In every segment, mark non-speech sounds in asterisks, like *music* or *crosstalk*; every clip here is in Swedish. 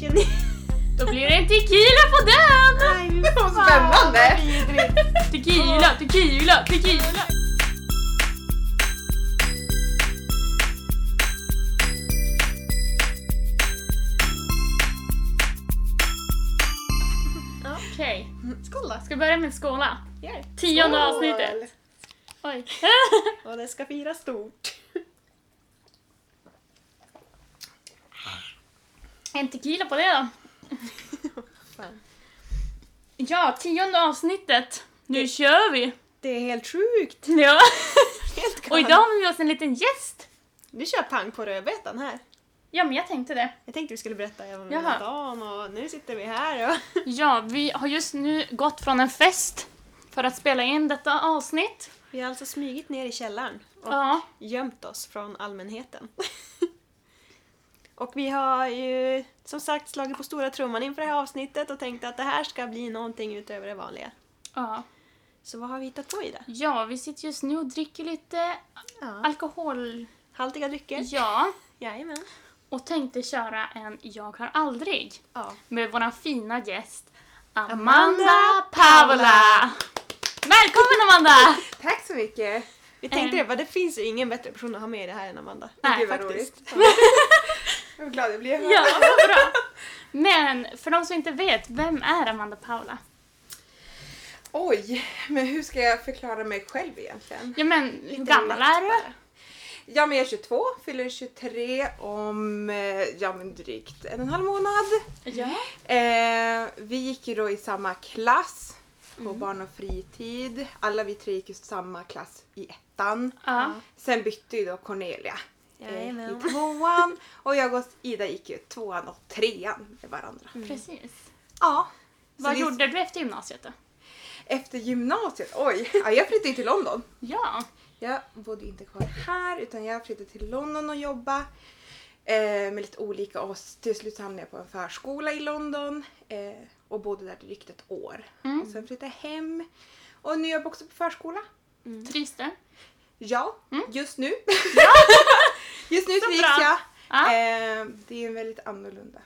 känner *laughs* Då blir det en tequila på den! Nej, men fan, vad spännande. vidrigt. Tequila, tequila, tequila! Okej, Skål då. ska vi börja med skåla? Gör det. Tionde Skål. avsnittet! Oj. Och det ska fira stort. *laughs* En tequila på det då. Fan. Ja, tionde avsnittet. Nu kör vi! Det är helt sjukt. *laughs* Ja. Helt *laughs* Och idag har vi med oss en liten gäst. Vi kör pang på rödbetan här. Ja, men jag tänkte det. Jag tänkte vi skulle berätta även om Jaha. hela dagen och nu sitter vi här. Och... *laughs* Ja, vi har just nu gått från en fest för att spela in detta avsnitt. Vi har alltså smugit ner i källaren och Ja, gömt oss från allmänheten. *laughs* och vi har ju som sagt slagit på stora trumman inför det här avsnittet och tänkt att det här ska bli någonting utöver det vanliga. ja. Så vad har vi hittat på i det? ja vi sitter just nu och dricker lite Ja. alkohol. Haltiga drycker? Ja, Jajamän. och tänkte köra en Jag har aldrig Ja. med vår fina gäst Amanda, Amanda Paula. Välkommen Amanda! Tack så mycket! Vi tänkte Ehm. det, bara, det finns ju ingen bättre person att ha med i det här än Amanda. Nej, Gud vad faktiskt. roligt. *laughs* Jag är glad jag blev. Ja, vad bra. Men för de som inte vet, vem är Amanda Paula? Oj, men hur ska jag förklara mig själv egentligen? Ja men, hur gammal är du? Ja, men jag är 22, fyller 23 om eh, ja, men drygt en och en halv månad. Ja. Eh, vi gick ju då i samma klass på Mm. barn och fritid. Alla vi tre gick i samma klass i ettan. ja. Sen bytte ju då Cornelia eh, i Jajamän. tvåan och jag och Ida gick ju tvåan och trean med varandra. Precis. Ja. Så Mm. Vad vi- gjorde du efter gymnasiet då? Efter gymnasiet, oj, ja, jag flyttade ju till London. Ja. Jag bodde inte kvar här utan jag flyttade till London och jobbade eh, med lite olika och till slut hamnade jag på en förskola i London eh, och bodde där drygt ett år. Mm. Och sen flyttade jag hem och nu jobbar jag också på förskola. Trivs du? Ja, Mm. just nu. *laughs* just nu Så trivs bra. jag. Ja. Eh, det är en väldigt annorlunda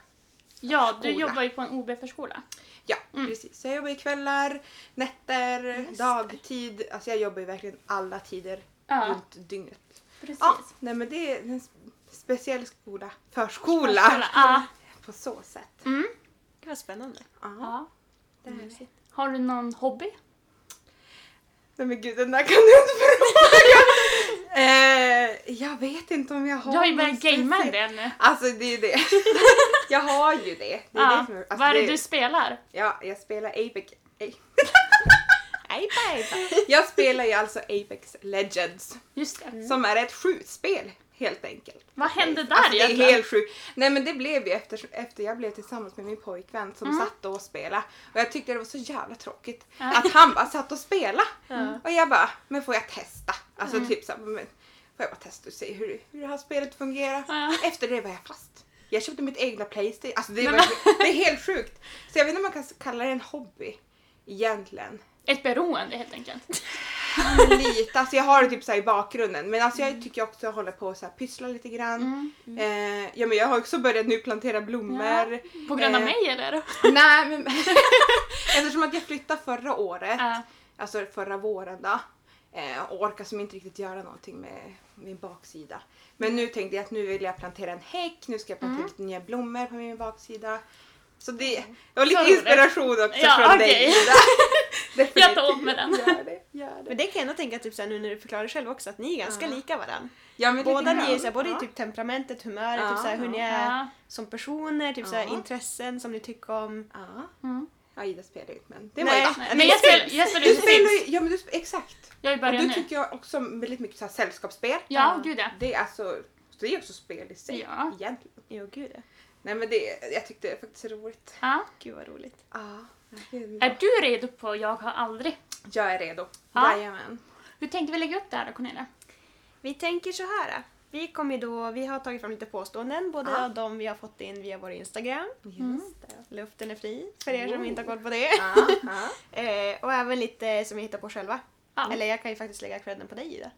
Ja, du skola. jobbar ju på en OB-förskola. Ja, Mm. precis. Så jag jobbar ju kvällar, nätter, Just det. dagtid. Alltså jag jobbar ju verkligen alla tider Ja. runt dygnet. Precis. Ja, nej men det är en sp- speciell skola. Förskola! Skola. Ja. *laughs* På så sätt. Mm. Det var spännande. Ja. ja. det är det. Har du någon hobby? Nej men gud, den där kan du inte *laughs* fråga! eh, jag vet inte om jag har... Du har ju någon börjat gamea en speciell- del nu. Alltså det är det. *laughs* jag har ju det. det, är Ja. det som alltså, Vad är det du spelar? Ja, jag spelar Apex... Ej. Aj, aj, aj. Jag spelar ju alltså Apex Legends. Just det. Som är ett skjutspel helt enkelt. Vad hände där alltså, det är egentligen? helt sjukt. Nej men det blev ju efter, efter jag blev tillsammans med min pojkvän som satt och spelade. Och jag tyckte det var så jävla tråkigt Mm. Ja. att han bara satt och spelade. Ja. Och jag bara, men får jag testa? Alltså typ såhär, men får jag bara testa och se hur, hur det här spelet fungerar? Ja. Efter det var jag fast. Jag köpte mitt egna Playstation. Alltså det, Men var, det är helt sjukt. Så jag vet inte om man kan kalla det en hobby egentligen. Ett beroende helt enkelt. Ja, men lite. Alltså jag har det typ så här i bakgrunden. Men alltså jag tycker också att hålla på och så här pyssla lite grann. Mm. Eh, ja, men jag har också börjat nu plantera blommor. På grund av Eh. mig eller? Nej, men *laughs* eftersom att jag flyttade förra året, *laughs* Ja. alltså förra våren då, eh, och orkar som inte riktigt göra någonting med min baksida. Men Mm. nu tänkte jag att nu vill jag plantera en häck, nu ska jag plantera lite nya blommor på min baksida. Så det, det var lite Så roligt. inspiration också Mm. Ja, från dig okej. Ida. *laughs* Jag tar åt mig den. Definitivt. Gör det, gör det. Men det kan jag ändå tänka typ såhär, nu när du förklarar själv också att ni är ganska Ja. lika varandra. Ja, men Båda lite ni är grann. såhär, både i Ja. typ temperamentet, humöret, typ Ja, såhär, hur ja. ni är Ja. som personer, typ såhär, Ja. intressen som ni tycker om. Ja. Mm. Ja, Ida spelar ju inte men det Nej, *laughs* var ju... nej, Men jag spelar, jag spelar Du ju spelar Sims. ju, ja men du, sp- exakt. Jag har ju Och börjat du nu. tycker jag också om väldigt mycket så här sällskapsspel. Ja, gud ja. Det är alltså, så det är också spel i sig Ja. egentligen. Jo gud ja. Nej men det, jag tyckte det faktiskt är roligt. ja. Gud vad roligt. Ja. Är du redo på Jag har aldrig? Jag är redo. Ja. Jajamän. Hur tänkte vi lägga upp det här då Cornelia? Vi tänker så här. Vi kommer då, vi har tagit fram lite påståenden, både Ja. av de vi har fått in via vår Instagram. Mm. Just det. Luften är fri, för er som Oh. inte har koll på det. Ja, ja. Eh, och även lite som vi hittar på själva. Ja. Eller jag kan ju faktiskt lägga credden på dig Ida.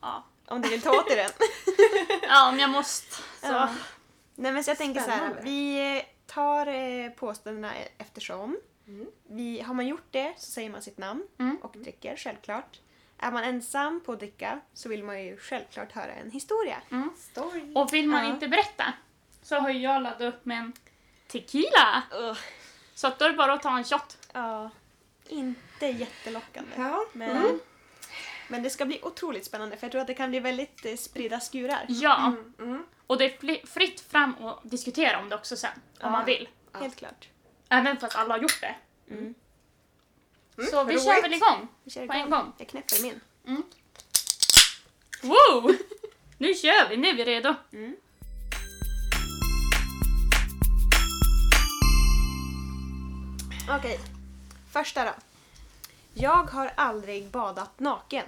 Ja. *laughs* Om du vill ta åt dig den. Ja, om jag måste. Så. Ja. Nej men så jag tänker så här, Spännande. vi eh, tar eh, påståendena eftersom. Mm. Vi, har man gjort det så säger man sitt namn Mm. och dricker, självklart. Är man ensam på att dricka så vill man ju självklart höra en historia. Mm. Story. Och vill man Ja. inte berätta så har ju jag laddat upp med en tequila. Ugh. Så att då är det bara att ta en shot. Ja, inte jättelockande. Ja. Mm. Men, men det ska bli otroligt spännande för jag tror att det kan bli väldigt eh, spridda skurar. Ja, Mm, mm. och det är fli- fritt fram att diskutera om det också sen, Ja. om man vill. Ja. Helt klart. Även fast alla har gjort det. Mm. Mm, Så vi roligt. kör väl igång Vi kör på en igång. gång. Jag knäpper min. Wow! Nu kör vi, nu är vi redo. Mm. Okej, första då. Jag har aldrig badat naken.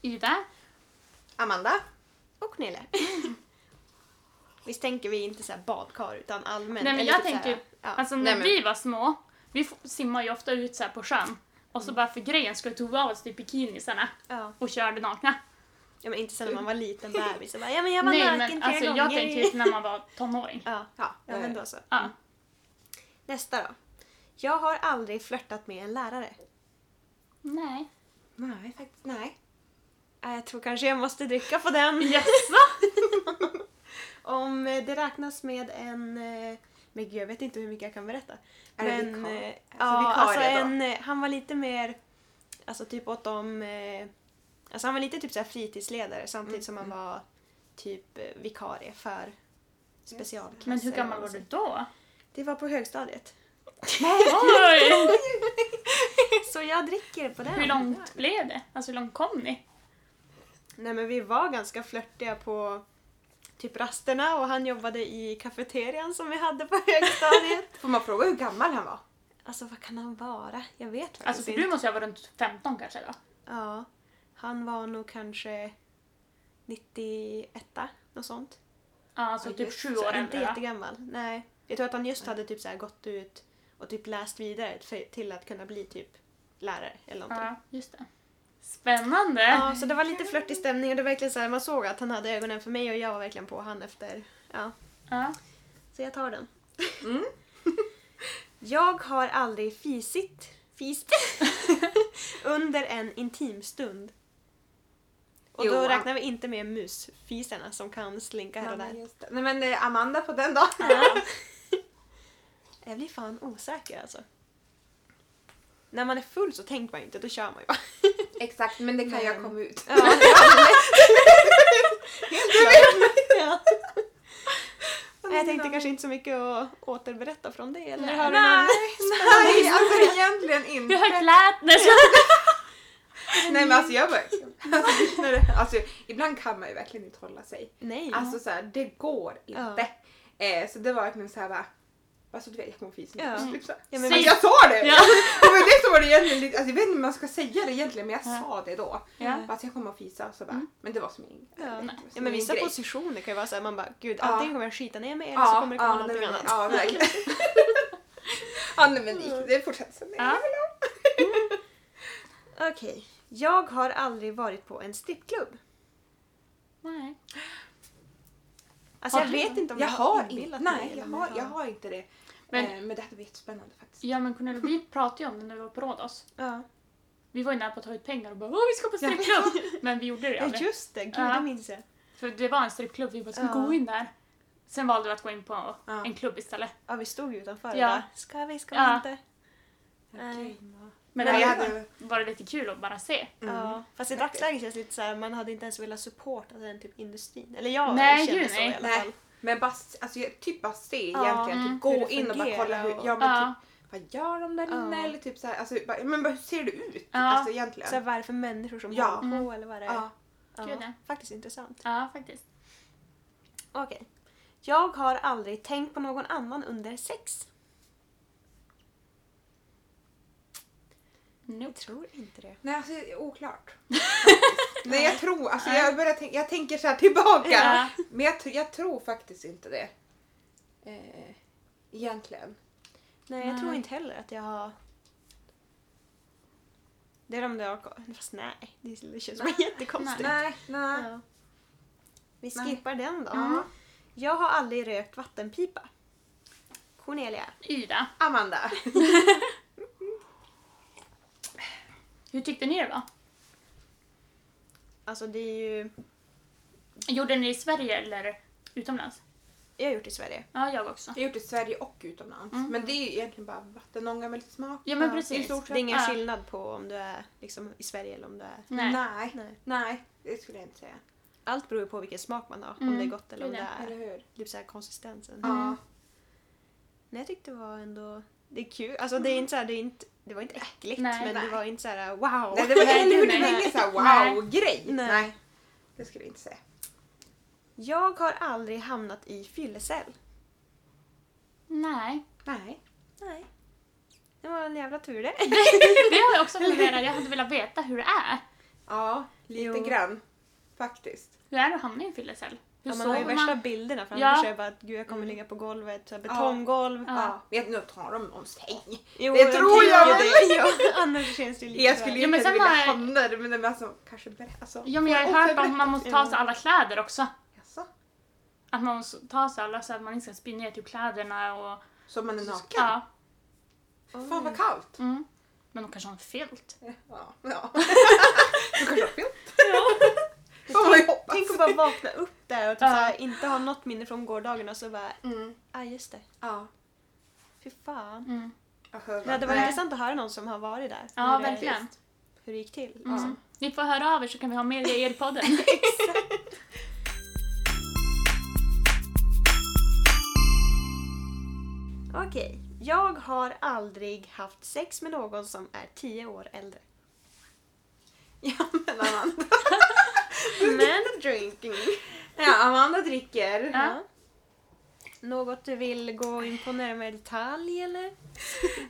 Ida? Amanda. Och Nille. *laughs* Visst tänker vi inte så här badkar utan allmänt. Nej men eller jag typ så här, tänker, ja. alltså när Nej, men- vi var små, vi f- simmar ju ofta ut så här på sjön. Och så Mm. bara för grejen skulle tog vi av oss typ bikinisarna ja. och körde nakna. ja, men inte sen när man var liten bebis och bara ja men jag var Nej naken men tre alltså gånger. jag tänker ju när man var *laughs* tonåring. *laughs* Ja, Ja, ja men då så. Ja. Nästa då. Jag har aldrig flörtat med en lärare. Nej. Nej, faktiskt nej. Äh, Jag tror kanske jag måste dricka på den. Jaså? Om eh, det räknas med en... eh, Men gud, jag vet inte hur mycket jag kan berätta. Är det men, vikar- eh, alltså ja, vikarie alltså då? en, eh, Han var lite mer... Alltså typ åt dem... eh, Alltså han var lite typ så här fritidsledare samtidigt Mm. som han var typ eh, vikarie för specialklasser. Men hur gammal var och så. du då? Det var på högstadiet. Oj! *laughs* Så jag dricker på den. Hur långt blev det? Alltså hur långt kom ni? Nej men vi var ganska flörtiga på typ rasterna och han jobbade i kafeterian som vi hade på högstadiet. Får man fråga hur gammal han var? Alltså vad kan han vara? Jag vet faktiskt Alltså för inte. du måste ju ha varit runt 15 kanske då? Ja. Han var nog kanske 91, något sånt. Ja, alltså Ja, typ just 7 Så år inte äldre va? jättegammal. Nej. Jag tror att han just hade typ så här gått ut och typ läst vidare för, till att kunna bli typ lärare eller någonting. Ja, just det. Spännande! Ja, så det var lite flörtig stämning och det var verkligen så här, man såg att han hade ögonen för mig och jag var verkligen på han efter. Ja. Ja. Så jag tar den. Mm. *laughs* Jag har aldrig fisit, fist *laughs* under en intim stund. Och då Jo, räknar vi inte med musfisarna som kan slinka här och Nej, där. just det. Nej men eh, Amanda på den då. Jag blir fan osäker alltså. När man är full så tänker man ju inte, då kör man *laughs* ju bara. *laughs* Exakt, men det kan Men- jag komma ut. *laughs* Ja. *laughs* Jag tänkte kanske inte så mycket att återberätta från det. Eller? Nej. Har du Nej, någon- nej, alltså egentligen Du har inte. klätt dig! Nej men alltså jag bara... *laughs* Alltså, när det- alltså, ibland kan man ju verkligen inte hålla sig. Nej. Alltså så här, det går inte. Eh, så det var verkligen så här bara, alltså du vet jag kommer fisa. Ja. Typ så här. Ja, men Men Säg- jag sa det! Ja. Ja, men det var det egentligen lite, alltså, jag vet inte om man ska säga det egentligen men jag Ja. sa det då. Ja. Bara, Alltså, jag kommer att fisa och så bara, men det var som ingen Ja, eller, nej. som Ja, men ingen vissa grej. positioner kan ju vara såhär, man bara gud Ja. antingen kommer jag skita ner mig eller så kommer det komma någonting nej, men- annat. *laughs* Ja, verkligen. ja, nej, men det, det fortsätter så. Ja. Okej. Jag har aldrig varit på en strippklubb. Nej. Alltså jag Har du? vet inte om Jag har inte, inbillat nej, mig jag eller om har, jag har inte det. Men- Men, eh, men det här var jättespännande faktiskt. Ja men Cornelia, vi pratade ju om det när vi var på Rhodos. Ja. Vi var ju nära på att ta ut pengar och bara åh vi ska på strippklubb! Men vi gjorde det *laughs* ja, aldrig. just det. Gud, Ja. det minns jag. För det var en strippklubb, vi bara ska vi Ja. gå in där? Sen valde vi att gå in på Ja. en klubb istället. Ja, vi stod ju utanför Ja. och bara, ska vi, ska vi Ja. inte? Nej. Okej. Men Nej, det jag var- hade- var det lite kul att bara se. Mm. Ja. Fast i dagsläget känns det lite såhär, man hade inte ens velat supporta den typ industrin. Eller jag Nej, kände gud, så nej. i alla Nej. fall. Men bara, s- alltså, jag- typ bara se Ja, egentligen. mm. Typ gå Hur det in och bara fungerar kolla hur, och- ja, men Ja. typ, vad gör de där inne? Ja. Eller typ så här, alltså, bara, men bara, hur ser det ut? Ja. Alltså egentligen. Så här, vad är det för människor som Ja. håller på Mm. eller vad det är? ja. Ja. Gud, ja. Faktiskt intressant. Ja faktiskt. Okej. Jag har aldrig tänkt på någon annan under sex. Nope. Jag tror inte det. Nej, alltså det är oklart. *laughs* Nej, jag tror, alltså jag börjar tänka, jag tänker så här tillbaka. Ja. Men jag, tr- jag tror faktiskt inte det. Eh, egentligen. Nej, jag Nej. tror inte heller att jag har... Det är de där jag... Fast nej, Typ. det känns som jättekonstigt. Nej, nej. Ja. Vi Nej. skippar den då. Ja. Jag har aldrig rökt vattenpipa. Cornelia. Ida, Amanda. hur tyckte ni det var? Alltså det är ju... Gjorde ni det i Sverige eller utomlands? Jag har gjort det i Sverige. Ja, jag också. Det är gjort i Sverige och utomlands. Mm. Men det är ju egentligen bara vattenånga med lite smak. Ja, men Ja, precis. det är så- Det är ingen Ja. skillnad på om du är liksom i Sverige eller om du är... Nej. Nej. Nej. Nej, det skulle jag inte säga. Allt beror ju på vilken smak man har. Om Mm, det är gott eller om det det är är Eller hur? typ så här konsistensen. Ja. Nej, jag tyckte det var ändå... Det är kul. Alltså det är inte så här, det, är inte, det var inte äckligt Nej. men Mm. Nej. det var inte så här wow. Nej, *laughs* det var, eller hur? Det Nej. var ingen sån här wow-grej. Nej. Det skulle jag inte säga. Jag har aldrig hamnat i fyllecell. Nej. Nej. Nej. Det var en jävla tur *laughs* det. Det har jag också funderat. Jag hade velat veta hur det är. Ja, lite Jo. grann. Faktiskt. Hur är det att hamna i en fyllecell? Hur Ja, man har ju sover värsta man? bilderna framför Ja. sig. Jag bara, gud jag kommer ligga på golvet, så här betonggolv. Ja. Mm. Ja. Men nu tar de någons häng. Jo, Det tror jag tänker det. *laughs* Ja, annars känns det ju lite Jag så skulle här- ju Ja, men inte sen vilja har jag- hamna där men det var alltså, kanske berä- alltså, Ja, men jag har Får hört att man måste ta av sig Ja. alla kläder också. Jaså? Att man måste ta av sig alla så att man inte ska spy ner typ kläderna och... Så man är naken? Ja. Fan vad kallt! Mm. Men de kanske har en *laughs* filt. Ja. ja. Du kanske har fel? Får man ju Tänk, hoppas. tänk att bara vakna upp där och typ Ja. så här, inte ha något minne från gårdagen och så bara, Mm. ah just det, Ja. fy fan. Mm. Det hade varit Nej. intressant att höra någon som har varit där. Ja, hur, det, verkligen. hur det gick till. Mm. liksom. Ni får höra av er så kan vi ha med er i podden. Okej, jag har aldrig haft sex med någon som är 10 år äldre. Ja men *laughs* Amanda. Men, Drinking. Ja, Amanda dricker. Ja. *laughs* något du vill gå in på närmare detalj eller?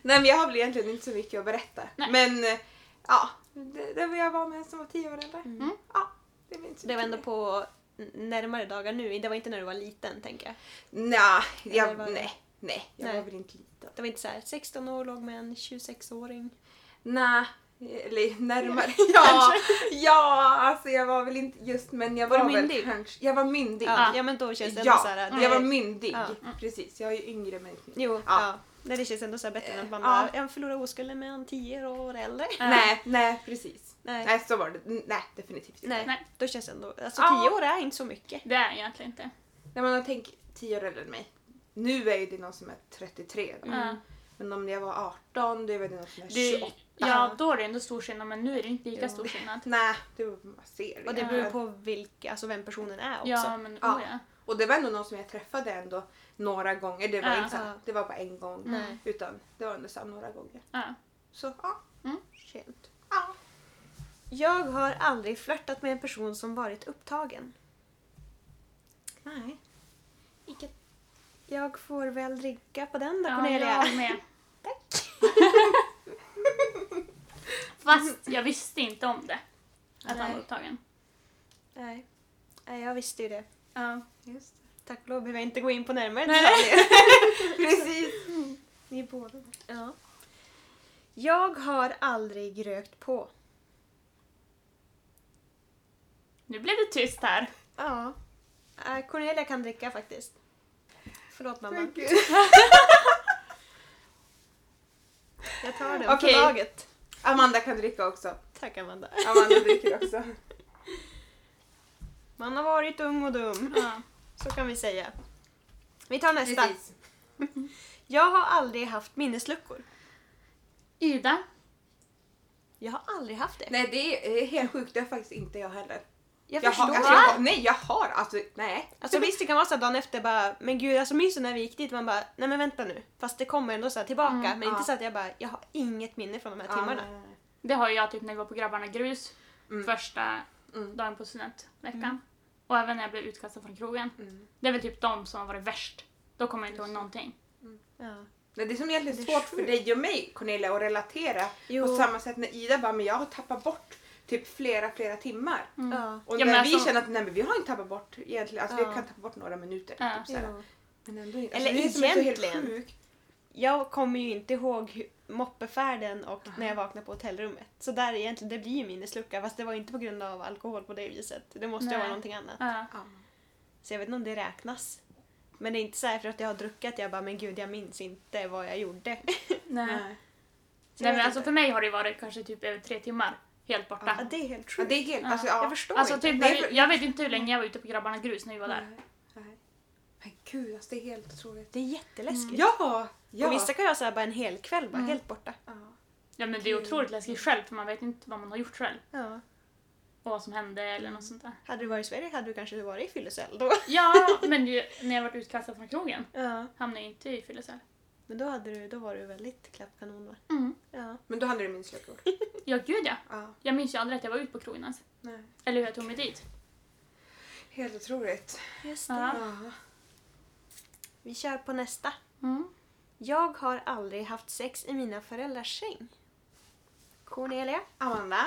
Nej men jag har väl egentligen inte så mycket att berätta. Nej. Men eh, ja, det, det var jag var med som var tio år äldre. Mm. Ja, det var inte så Det var mycket ändå på n- närmare dagar nu, det var inte när du var liten tänker jag. mer. Nja, Eller jag, var det- nej, nej, jag Nej. var väl inte liten. Det var inte så här 16 år låg med en 26-åring. Nej, *laughs* eller närmare. Ja, ja, alltså jag var väl inte just men jag Var var, du Väl, myndig? kanske, jag var myndig. Ah. Ja, ja men då känns det ändå Ja, så Mm. här. Det, jag var myndig. Ja. Precis, jag är ju yngre men inte Jo, ja. Ja. Nej, det känns ändå så här bättre än att man Ja. bara, jag förlorar oskulden med en 10 år äldre. Ah. Nej, nej precis. Nej. Nej, så var det. Nej, definitivt inte. Nej. Nej. då känns det ändå, alltså 10 Ja. år är inte så mycket. Det är egentligen inte. Nej men tänk 10 år äldre än mig. Nu är ju det någon som är 33 då. Mm. Ja. Men om jag var 18 då är det någon som är Du, 28. ja, då är det ändå stor skillnad men nu är det inte lika Jo. stor skillnad. Nej, det var man ser. typ. Och det ju. beror på vilka, alltså vem personen är också. Ja, men Ja. oh, ja. och det var ändå någon som jag träffade ändå några gånger. Det var, Ja. inte så, här- det var bara en gång. Nej. Utan det var ändå så här några gånger. ja. Så ja. Skönt. ja. Jag har aldrig flörtat med en person som varit upptagen. Nej. Jag får väl dricka på den då Ja, Cornelia. jag håller med. *laughs* Fast jag visste inte om det. Att han Nej. var upptagen. Nej. Nej, jag visste ju det. Ja. Just det. Tack och lov behöver jag inte gå in på närmare Nej. detaljer. *laughs* Precis. Ni båda. Ja. Jag har aldrig rökt på. Nu blev det tyst här. Ja. Eh, Cornelia kan dricka faktiskt. Förlåt mamma. Men gud. Jag tar den Okej. för laget. Amanda kan dricka också. Tack Amanda. Amanda dricker *laughs* också. Man har varit ung och dum. Ja. Så kan vi säga. Vi tar nästa. Precis. Jag har aldrig haft minnesluckor. *laughs* Ida. Jag har aldrig haft det. Nej det är helt sjukt. Det har faktiskt inte jag heller. Jag, Jag har, förstår. Ah! alltså, jag har, nej jag har alltså nej. Alltså visst det kan vara så att dagen efter bara, men gud alltså minns du när vi gick dit? Man bara, nej men vänta nu. Fast det kommer ändå så här tillbaka. Mm, men inte ja. så att jag bara, jag har inget minne från de här Ja, Ah, timmarna. nej, nej, nej. Det har ju jag typ när jag var på Grabbarna Grus. Mm. Första Mm. dagen på studentveckan. Och även när jag blev utkastad från krogen. Mm. Det är väl typ de som har varit värst. Då kommer jag inte ihåg någonting. Ja. Nej, det är som egentligen Det är svårt för sjukt. dig och mig Cornelia att relatera Jo. på samma sätt när Ida bara men jag har tappat bort typ flera flera timmar. Ja. Och Ja, men när vi alltså- känner att nej, men vi har inte tappat bort egentligen, alltså Ja. vi kan tappa bort några minuter. Ja. Typ, såhär. Jo. men ändå, inte- Alltså, Eller det är som är så helt egentligen. sjukt. Jag kommer ju inte ihåg hu- moppefärden och när jag vaknade på hotellrummet. Så där egentligen, det blir ju minneslucka. Fast det var inte på grund av alkohol på det viset. Det måste ju Nej. vara någonting annat. Ja. Ja. Så jag vet inte om det räknas. Men det är inte så här för att jag har druckit att jag bara, men gud jag minns inte vad jag gjorde. *laughs* Nej. Nej. Så jag Nej men vet alltså inte. för mig har det varit kanske typ över tre timmar. Helt borta. Ja, det är helt Ja, sjukt. det är helt, alltså, ja. Jag förstår Alltså inte. Mm. typ, Nej, när vi- för- jag vet inte hur länge jag var ute på grabbarna grus när vi var där. Nej, nej. Men gud, alltså, det är helt otroligt. Det är jätteläskigt. Ja! ja. Mm. Och vissa kan jag säga bara en hel kväll, bara helt borta. ja. Ja men det är otroligt läskigt själv för man vet inte vad man har gjort själv. Ja. Och vad som hände eller något sånt där. Hade du varit i Sverige hade du kanske varit i fyllecell då. *laughs* Ja, men ju, när jag varit utkastad från krogen Ja. hamnade jag inte i fyllecell. Men då, hade du, då var du väldigt klappkanon va? Mm. Ja. Men då hade du min slutord. Ja gud ja. ja. Jag minns ju aldrig att jag var ute på krogen ens. Nej. Eller hur jag tog mig dit. Helt otroligt. Just det. Ja. Ja. Vi kör på nästa. Mm. Jag har aldrig haft sex i mina föräldrars säng. Cornelia? Amanda.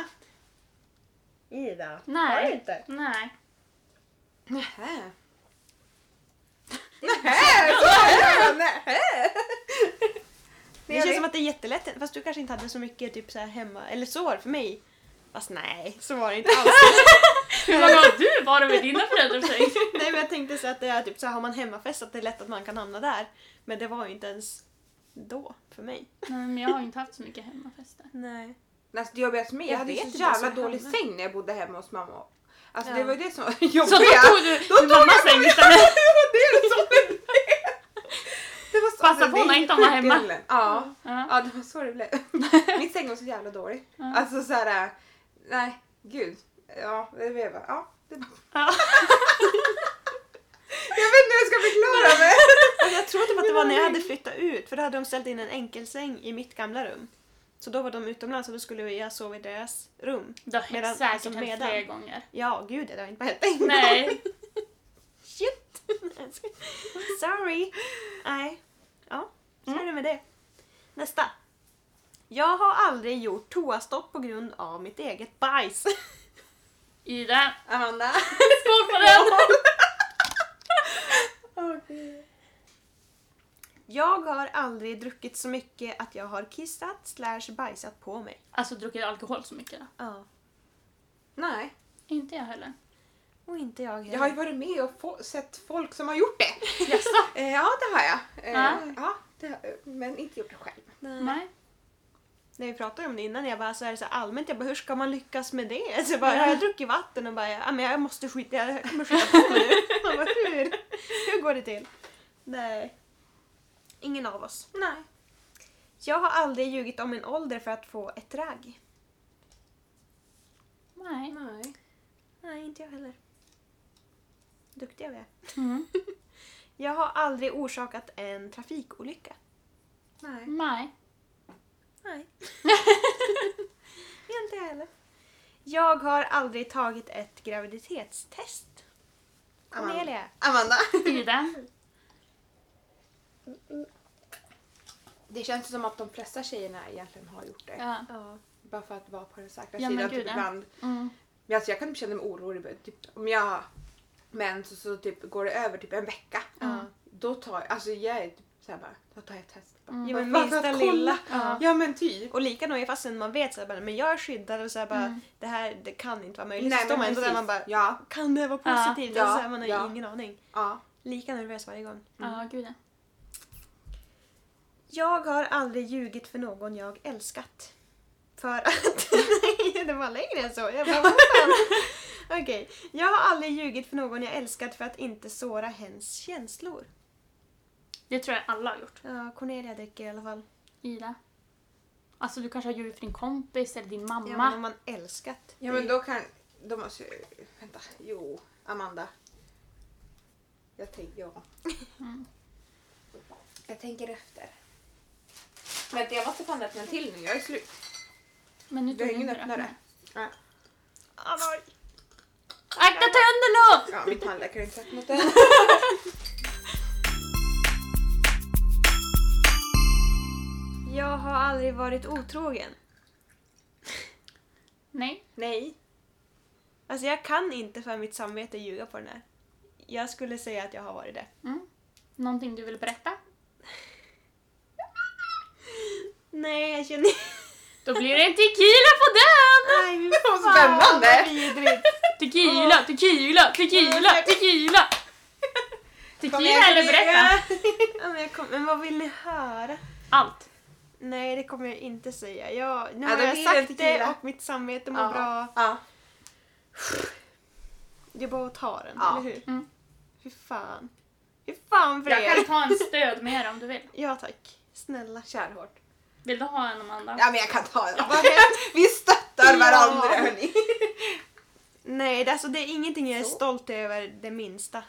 Ida? Nej. Har du inte? Nej. Nähä. *laughs* Nähä! Så är det! Nähä! Det jag känns vet. som att det är jättelätt, fast du kanske inte hade så mycket typ så här hemma, eller så var det för mig. Fast nej, så var det inte alls. Hur många har du varit med dina föräldrar för *laughs* sig? nej men jag tänkte så att det är typ så här, har man hemmafest att det är lätt att man kan hamna där. Men det var ju inte ens då för mig. Nej men jag har ju inte haft så mycket hemmafester. Nej. Alltså, det jobbigaste med mig, jag Jag hade vet ju så inte ens jävla vad dålig jag säng när jag bodde hemma hos mamma. Alltså Ja. det var ju det som var Så då jobbiga. tog du din mammas säng istället? Det var det som blev det. det var så, Passa alltså, på det är när helt inte hon var sjukt hemma. egentligen. Ja. Ja. ja, det var så det blev. Min säng var så jävla dålig. Ja. Alltså såhär, nej gud. Ja, det blev bara, ja. Det... Ja. *laughs* Jag vet inte hur jag ska förklara mig. Alltså jag tror typ att det var när jag hade flyttat ut, för då hade de ställt in en enkelsäng i mitt gamla rum. Så då var de utomlands och då skulle jag sova i deras rum. Det har Medan- säkert alltså, hänt medan. flera gånger. Ja, gud det har inte hänt en gång. Nej. *laughs* Shit! Sorry! Nej. Ja, så är det Mm. med det. Nästa. Jag har aldrig gjort toastopp på grund av mitt eget *laughs* bajs. Ida, Amanda. skål på *laughs* *laughs* den! Jag har aldrig druckit så mycket att jag har kissat slash bajsat på mig. Alltså druckit alkohol så mycket då? Ja. Nej, Inte jag heller. Och inte jag heller. jag har ju varit med och få, sett folk som har gjort det. *laughs* Jaså? Eh, ja, det har jag. Eh, Ja. ja, det har, men inte gjort det själv. Nej. När vi pratade om det innan, jag bara, så är det så här allmänt, jag bara, hur ska man lyckas med det? Så jag bara, jag har druckit vatten och bara, ja, men jag måste skita, jag kommer skita på mig nu. *laughs* Man bara, hur? Hur går det till? Nej. Ingen av oss. Nej. Jag har aldrig ljugit om min ålder för att få ett drag. Nej. Nej. Nej, inte jag heller. Duktiga vi är. Mm. Jag har aldrig orsakat en trafikolycka. Nej. Nej. Nej. inte jag heller. Jag har aldrig tagit ett graviditetstest. Amanda. Cornelia. Amanda. *laughs* Ida. Det känns som att de flesta tjejerna egentligen har gjort det. Ja. Ja. Bara för att vara på den säkra Ja, men sidan. gud, Typ ja. ibland. Mm. Men alltså, jag kan känna mig orolig. Typ, om jag har mens och så typ, går det över typ en vecka. Ja. Då tar jag, alltså jag är typ såhär bara, då tar jag ett test. Bara, Mm. Jo, men bara för minsta att lilla. kolla. Ja. Ja men typ. Och likadant är fastän man vet så här, bara, men jag är skyddad och så här, bara, Mm. det här det kan inte vara möjligt. så står man ändå där precis. man bara, Ja. kan det vara Ja, positivt? ja, Alltså, så här, man har ju ja. ingen aning. ja. Lika nervös varje gång. Ja, gud ja. Jag har aldrig ljugit för någon jag älskat. För att... *laughs* Nej, det var längre än så. Jag bara, vad *laughs* fan? Okej. Jag har aldrig ljugit för någon jag älskat för att inte såra hens känslor. Det tror jag alla har gjort. Ja, Cornelia dricker i alla fall. Ida. Alltså du kanske har ljugit för din kompis eller din Ja, men mamma. om man älskat. Ja men då kan, då måste jag, vänta, jo, Amanda. Jag tänker, ja. Mm. *laughs* Jag tänker efter. Vänta jag måste fan öppna en till nu, jag är slut. Men nu Du har ingen inte det. öppnare? Ja, Ah, nej. Akta tänderna! ja min tandläkare har inte *laughs* sagt något än. Jag har aldrig varit otrogen. Nej. Nej. Alltså jag kan inte för mitt samvete ljuga på den här. Jag skulle säga att jag har varit det. Mm. Någonting du vill berätta? Nej, jag känner... Då blir det en tequila på *laughs* den! Nej, men Vad spännande! Vad vidrigt! *laughs* Tequila, tequila, tequila, tequila! Tycker Kom ni igen, eller Cornelia! berätta? Ja, men, jag kom, men vad vill ni höra? Allt. Nej, det kommer jag inte säga. Jag, nu Ja, har det jag blir en sagt det tequila. och mitt samvete mår Ja. bra. *laughs* Ja. Det är bara att ta den, Ja. eller hur? Mm. Fy fan. Fy fan för Jag er. kan ta en stöd mer om du vill. Ja tack. Snälla. Kär hårt. Vill du ha en Amanda? Ja men jag kan ta det. *laughs* Vad hemskt. Vi stöttar Ja. varandra hörni. Nej, det, alltså, det är ingenting jag är Så. stolt över det minsta.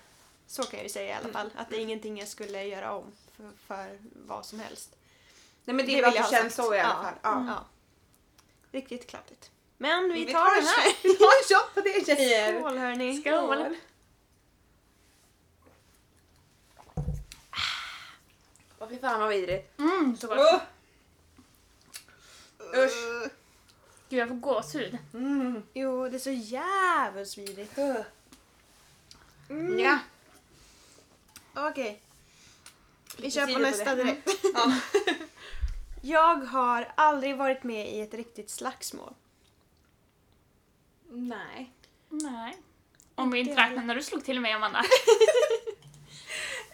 Så kan jag ju säga i alla fall. Att det är ingenting jag skulle göra om för, för vad som helst. Nej men det vill är bra jag att ha det känns sagt. så i alla Ja. fall. Ja. Ja. Riktigt kladdigt. Men vi, Vi tar, tar den en här. *laughs* Vi tar en shot på det tjejer. *laughs* Skål hörni. Skål. Ah. Åh fy fan vad vidrigt. Mm, så gott. Uh. Usch. Gud, jag får gåshud. Mm. Jo, det är så jävligt vidrigt. Uh. Ja. Mm. Okej. Vi Lite kör tid på Mm. på nästa det. direkt. Ja. *laughs* Jag har aldrig varit med i ett riktigt slagsmål. Nej. Nej. Om vi inte Inte räknar när du slog till mig, Amanda. *laughs*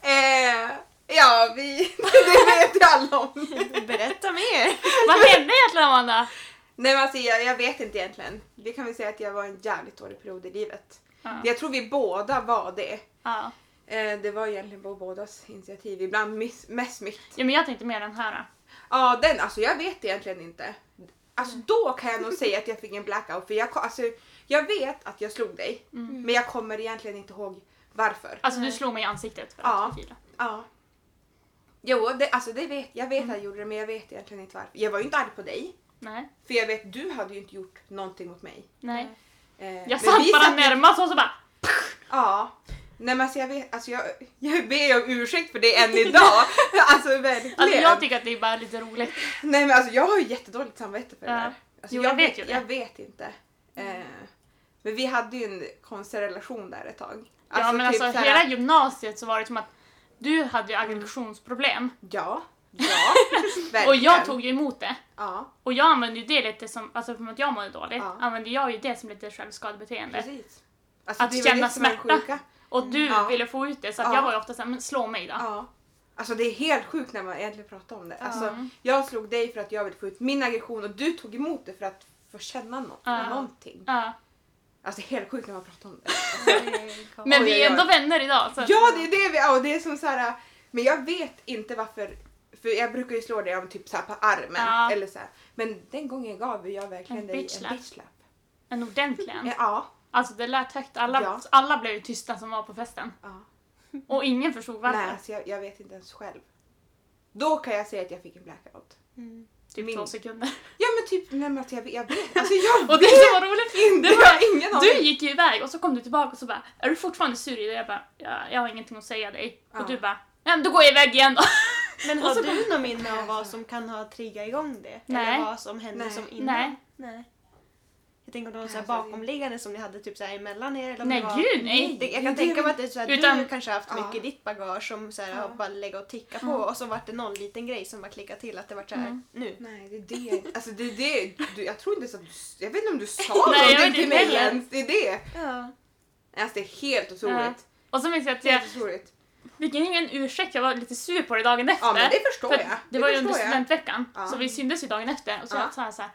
Eh, ja vi... *laughs* det vet ju alla om. Berätta *laughs* mer! Vad hände egentligen, Amanda? Nej men alltså jag, jag vet inte egentligen. Vi kan väl säga att jag var en jävligt dålig period i livet. Ja. Jag tror vi båda var det. Ja. Eh, det var egentligen på bådas initiativ. Ibland miss, mest mitt. ja, men jag tänkte mer den här. Ja den, alltså jag vet egentligen inte. Alltså Mm. då kan jag nog säga att jag fick en blackout för jag, ko- alltså, jag vet att jag slog dig. Mm. Men jag kommer egentligen inte ihåg varför. Alltså, du slog mig i ansiktet för att Ja. jag filade. Ja. Jo, det, alltså det vet, jag vet att Mm. jag gjorde det men jag vet egentligen inte varför. Jag var ju inte arg på dig. Nej. För jag vet, du hade ju inte gjort någonting mot mig. Nej. Eh, men Jag satt vi bara satt- närmast och så bara... Ja. Nej men alltså jag vet, alltså jag, jag ber om ursäkt för det *laughs* än idag. alltså verkligen. Alltså, jag tycker att det är bara lite roligt. Nej men alltså jag har ju jättedåligt samvete för det Ja. där. Alltså, Jo, jag vet ju det. Jag vet inte. Eh, men vi hade ju en konstig relation där ett tag. ja, men typ alltså så här- hela gymnasiet så var det som att du hade ju aggressionsproblem Ja, ja, *laughs* verkligen. och jag tog ju emot det. Ja, Och jag använde ju det lite som, alltså för att jag mådde dåligt, Ja. använde jag ju det som lite självskadebeteende. precis. Alltså, Att det är väl känna det som är det smärta. sjuka. Och du Ja. ville få ut det så att Ja. jag var ju ofta såhär, men slå mig då. Ja. Alltså det är helt sjukt när man egentligen pratar om det. Alltså, Mm. jag slog dig för att jag ville få ut min aggression och du tog emot det för att få känna nå- Ja. någonting. Ja. Alltså det är helt sjukt när man pratar om det. Men Oj, vi oj, är oj. ändå vänner idag. Så att- Ja, det är det vi ja, och det är som så här. Men jag vet inte varför. För jag brukar ju slå dig om typ så här på armen. Ja. Eller så här. Men den gången gav jag verkligen En dig bitch en slap. bitchlap. En ordentlig en. Ja. Alltså det lät högt, alla, Ja. alla blev ju tysta som var på festen. ja. Och ingen förstod varför. Nej, alltså jag, jag vet inte ens själv. Då kan jag säga att jag fick en blackout. Typ Min- två *laughs* sekunder. Ja men typ, nej men alltså jag vet. Jag vet. Alltså *laughs* jag Och det vet som var roligt, inte. det jag var, har ingen du aning. gick ju iväg och så kom du tillbaka och så bara Är du fortfarande sur i det? Jag bara ja, Jag har ingenting att säga dig. Ja. Och du bara Nej men då går jag iväg igen *laughs* då. Men Och har så du något minne av vad som kan ha triggat igång det? Nej. Eller vad som hände Nej. som innan? Nej. Nej. Jag tänker om det var så här Alltså, det- bakomliggande som ni hade typ så här emellan er eller om Nej det var... gud nej. Det, jag Det kan är tänka väl- mig att det är så här, du Utan- kanske har haft Ja. mycket i ditt bagage som så här, har bara lägga och ticka på och så vart det någon liten grej som bara klickade till att det vart så här nu. Nej det är det. Alltså det är det. Du, jag tror inte ens att du, jag vet inte om du *laughs* sa Nej, jag vet någonting inte till mig heller. ens. Det är det. Ja. Alltså det är helt Ja. otroligt. Och så minns jag att jag Helt otroligt. fick ingen ursäkt, jag var lite sur på dig dagen efter. Mm. Ja men det förstår För att jag. det, var ju under förstår jag. studentveckan, Ja. så vi syndes ju dagen efter och så Ja. sa jag såhär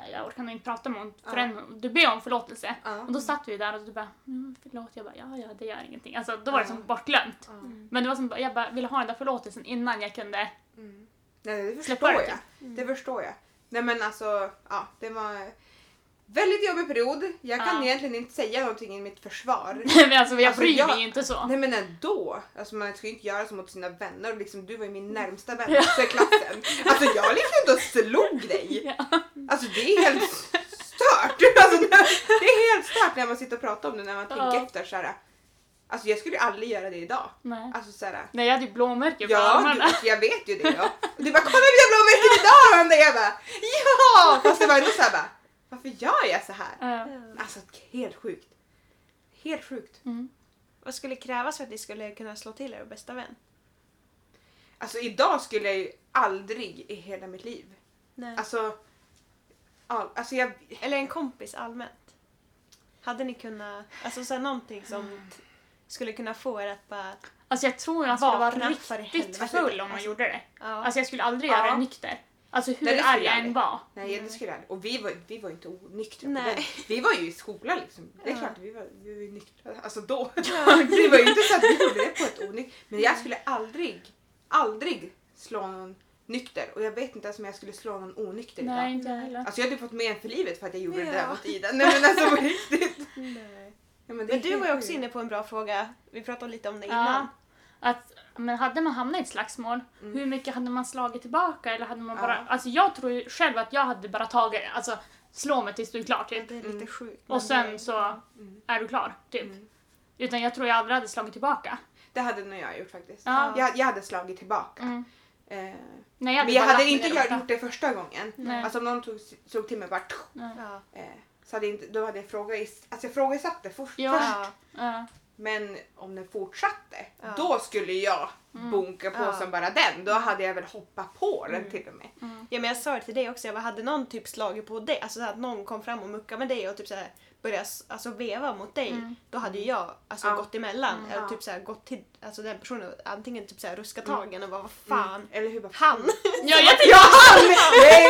"Nej, jag orkar nog inte prata med hon Ja. förrän du ber om förlåtelse. Ja. Och då satt vi ju där och du bara mm, förlåt, jag bara ja ja det gör ingenting. Alltså då var det Ja. som bortglömt. Ja. Men det var som jag bara ville ha den där förlåtelsen innan jag kunde. *laughs* Nej, det Släppa förstår det, Mm. jag. Det förstår jag. Nej men alltså, ja det var väldigt jobbig period. Jag kan Ja. egentligen inte säga någonting i mitt försvar. men alltså jag Alltså, bryr jag- mig ju inte så. Nej men ändå! Alltså man ska ju inte göra så mot sina vänner. Liksom, du var ju min närmsta vän i klassen. Alltså jag liksom inte och slog dig. *laughs* Ja. Alltså det är helt stört! Alltså, det är helt stört när man sitter och pratar om det när man tänker Ja. efter. Så här, alltså jag skulle ju aldrig göra det idag. Nej. Alltså så här, Nej jag hade ju blåmärken på Ja, du, armarna. alltså, jag vet ju det. Ja. Och Du bara “kolla mina blommor idag Amanda!” Jag bara “ja!” Fast det var ändå såhär bara “varför gör jag så här?” *laughs* Ja. Alltså helt sjukt. Helt sjukt. Mm. Vad skulle krävas för att ni skulle kunna slå till er bästa vän? Alltså idag skulle jag ju aldrig i hela mitt liv. Nej. Alltså, all, alltså jag... Eller en kompis allmänt? Hade ni kunnat, alltså så här, någonting som t- skulle kunna få er att bara Alltså jag tror jag skulle Vakna vara för riktigt helvete. full om man Alltså- gjorde det. Ja. Alltså jag skulle aldrig Ja. göra det nykter. Alltså hur Nej, det skulle arg jag jag än aldrig. var. Nej, det skulle jag aldrig. Och vi var, vi var ju inte onyktra på Nej. den. Vi var ju i skolan liksom. Det är Ja. klart, vi var, vi var ju nyktra. Alltså då. det var ju inte så att *laughs* vi gjorde det på ett onykt. Men jag skulle aldrig, aldrig slå någon nykter. Och jag vet inte ens om jag skulle slå någon onykter Nej, idag. inte jag heller. Typ. Alltså jag hade fått men för livet för att jag gjorde det där Ja. mot Ida. Nej men alltså på riktigt. Nej. Ja, men, det är Mm. Men du var ju helt också sjukt. inne på en bra fråga. Vi pratade lite om det Ja. innan. Att, men hade man hamnat i ett slagsmål, Mm. hur mycket hade man slagit tillbaka? Eller hade man bara... Ja. Alltså jag tror ju själv att jag hade bara tagit, alltså slå mig tills du är klar Ja, typ. det är lite Mm. sjukt. men Och det är- sen så Mm. är du klar, typ. Mm. Utan jag tror jag aldrig hade slagit tillbaka. Det hade nog jag gjort faktiskt. Ja. Jag, jag hade slagit tillbaka. Mm. Eh, Nej, men jag bara hade lagt inte mig gör- där gjort det första gången. Nej. Alltså om någon tog, slog till mig bara tuff, borta. Ja. eh, så hade jag inte, då hade jag frågat, alltså jag frågasatte först, Ja. först. Ja. Ja. Men om den fortsatte, Ja. då skulle jag Mm. bunka på Ja. som bara den. Då hade jag väl hoppat på den till och med. Ja men jag sa det till dig också, jag bara, hade någon typ slagit på dig, alltså så att någon kom fram och muckade med dig och typ så här började s- alltså, veva mot dig, Mm. då hade ju jag alltså, Ja. gått emellan. Mm. Eller Ja. typ så här, gått till alltså, den personen och antingen typ så här, ruskat tag i henne och bara vad fan, Mm. Eller hur? Bara, han! *laughs* Ja, jag Ja, tänkte... han! Nej!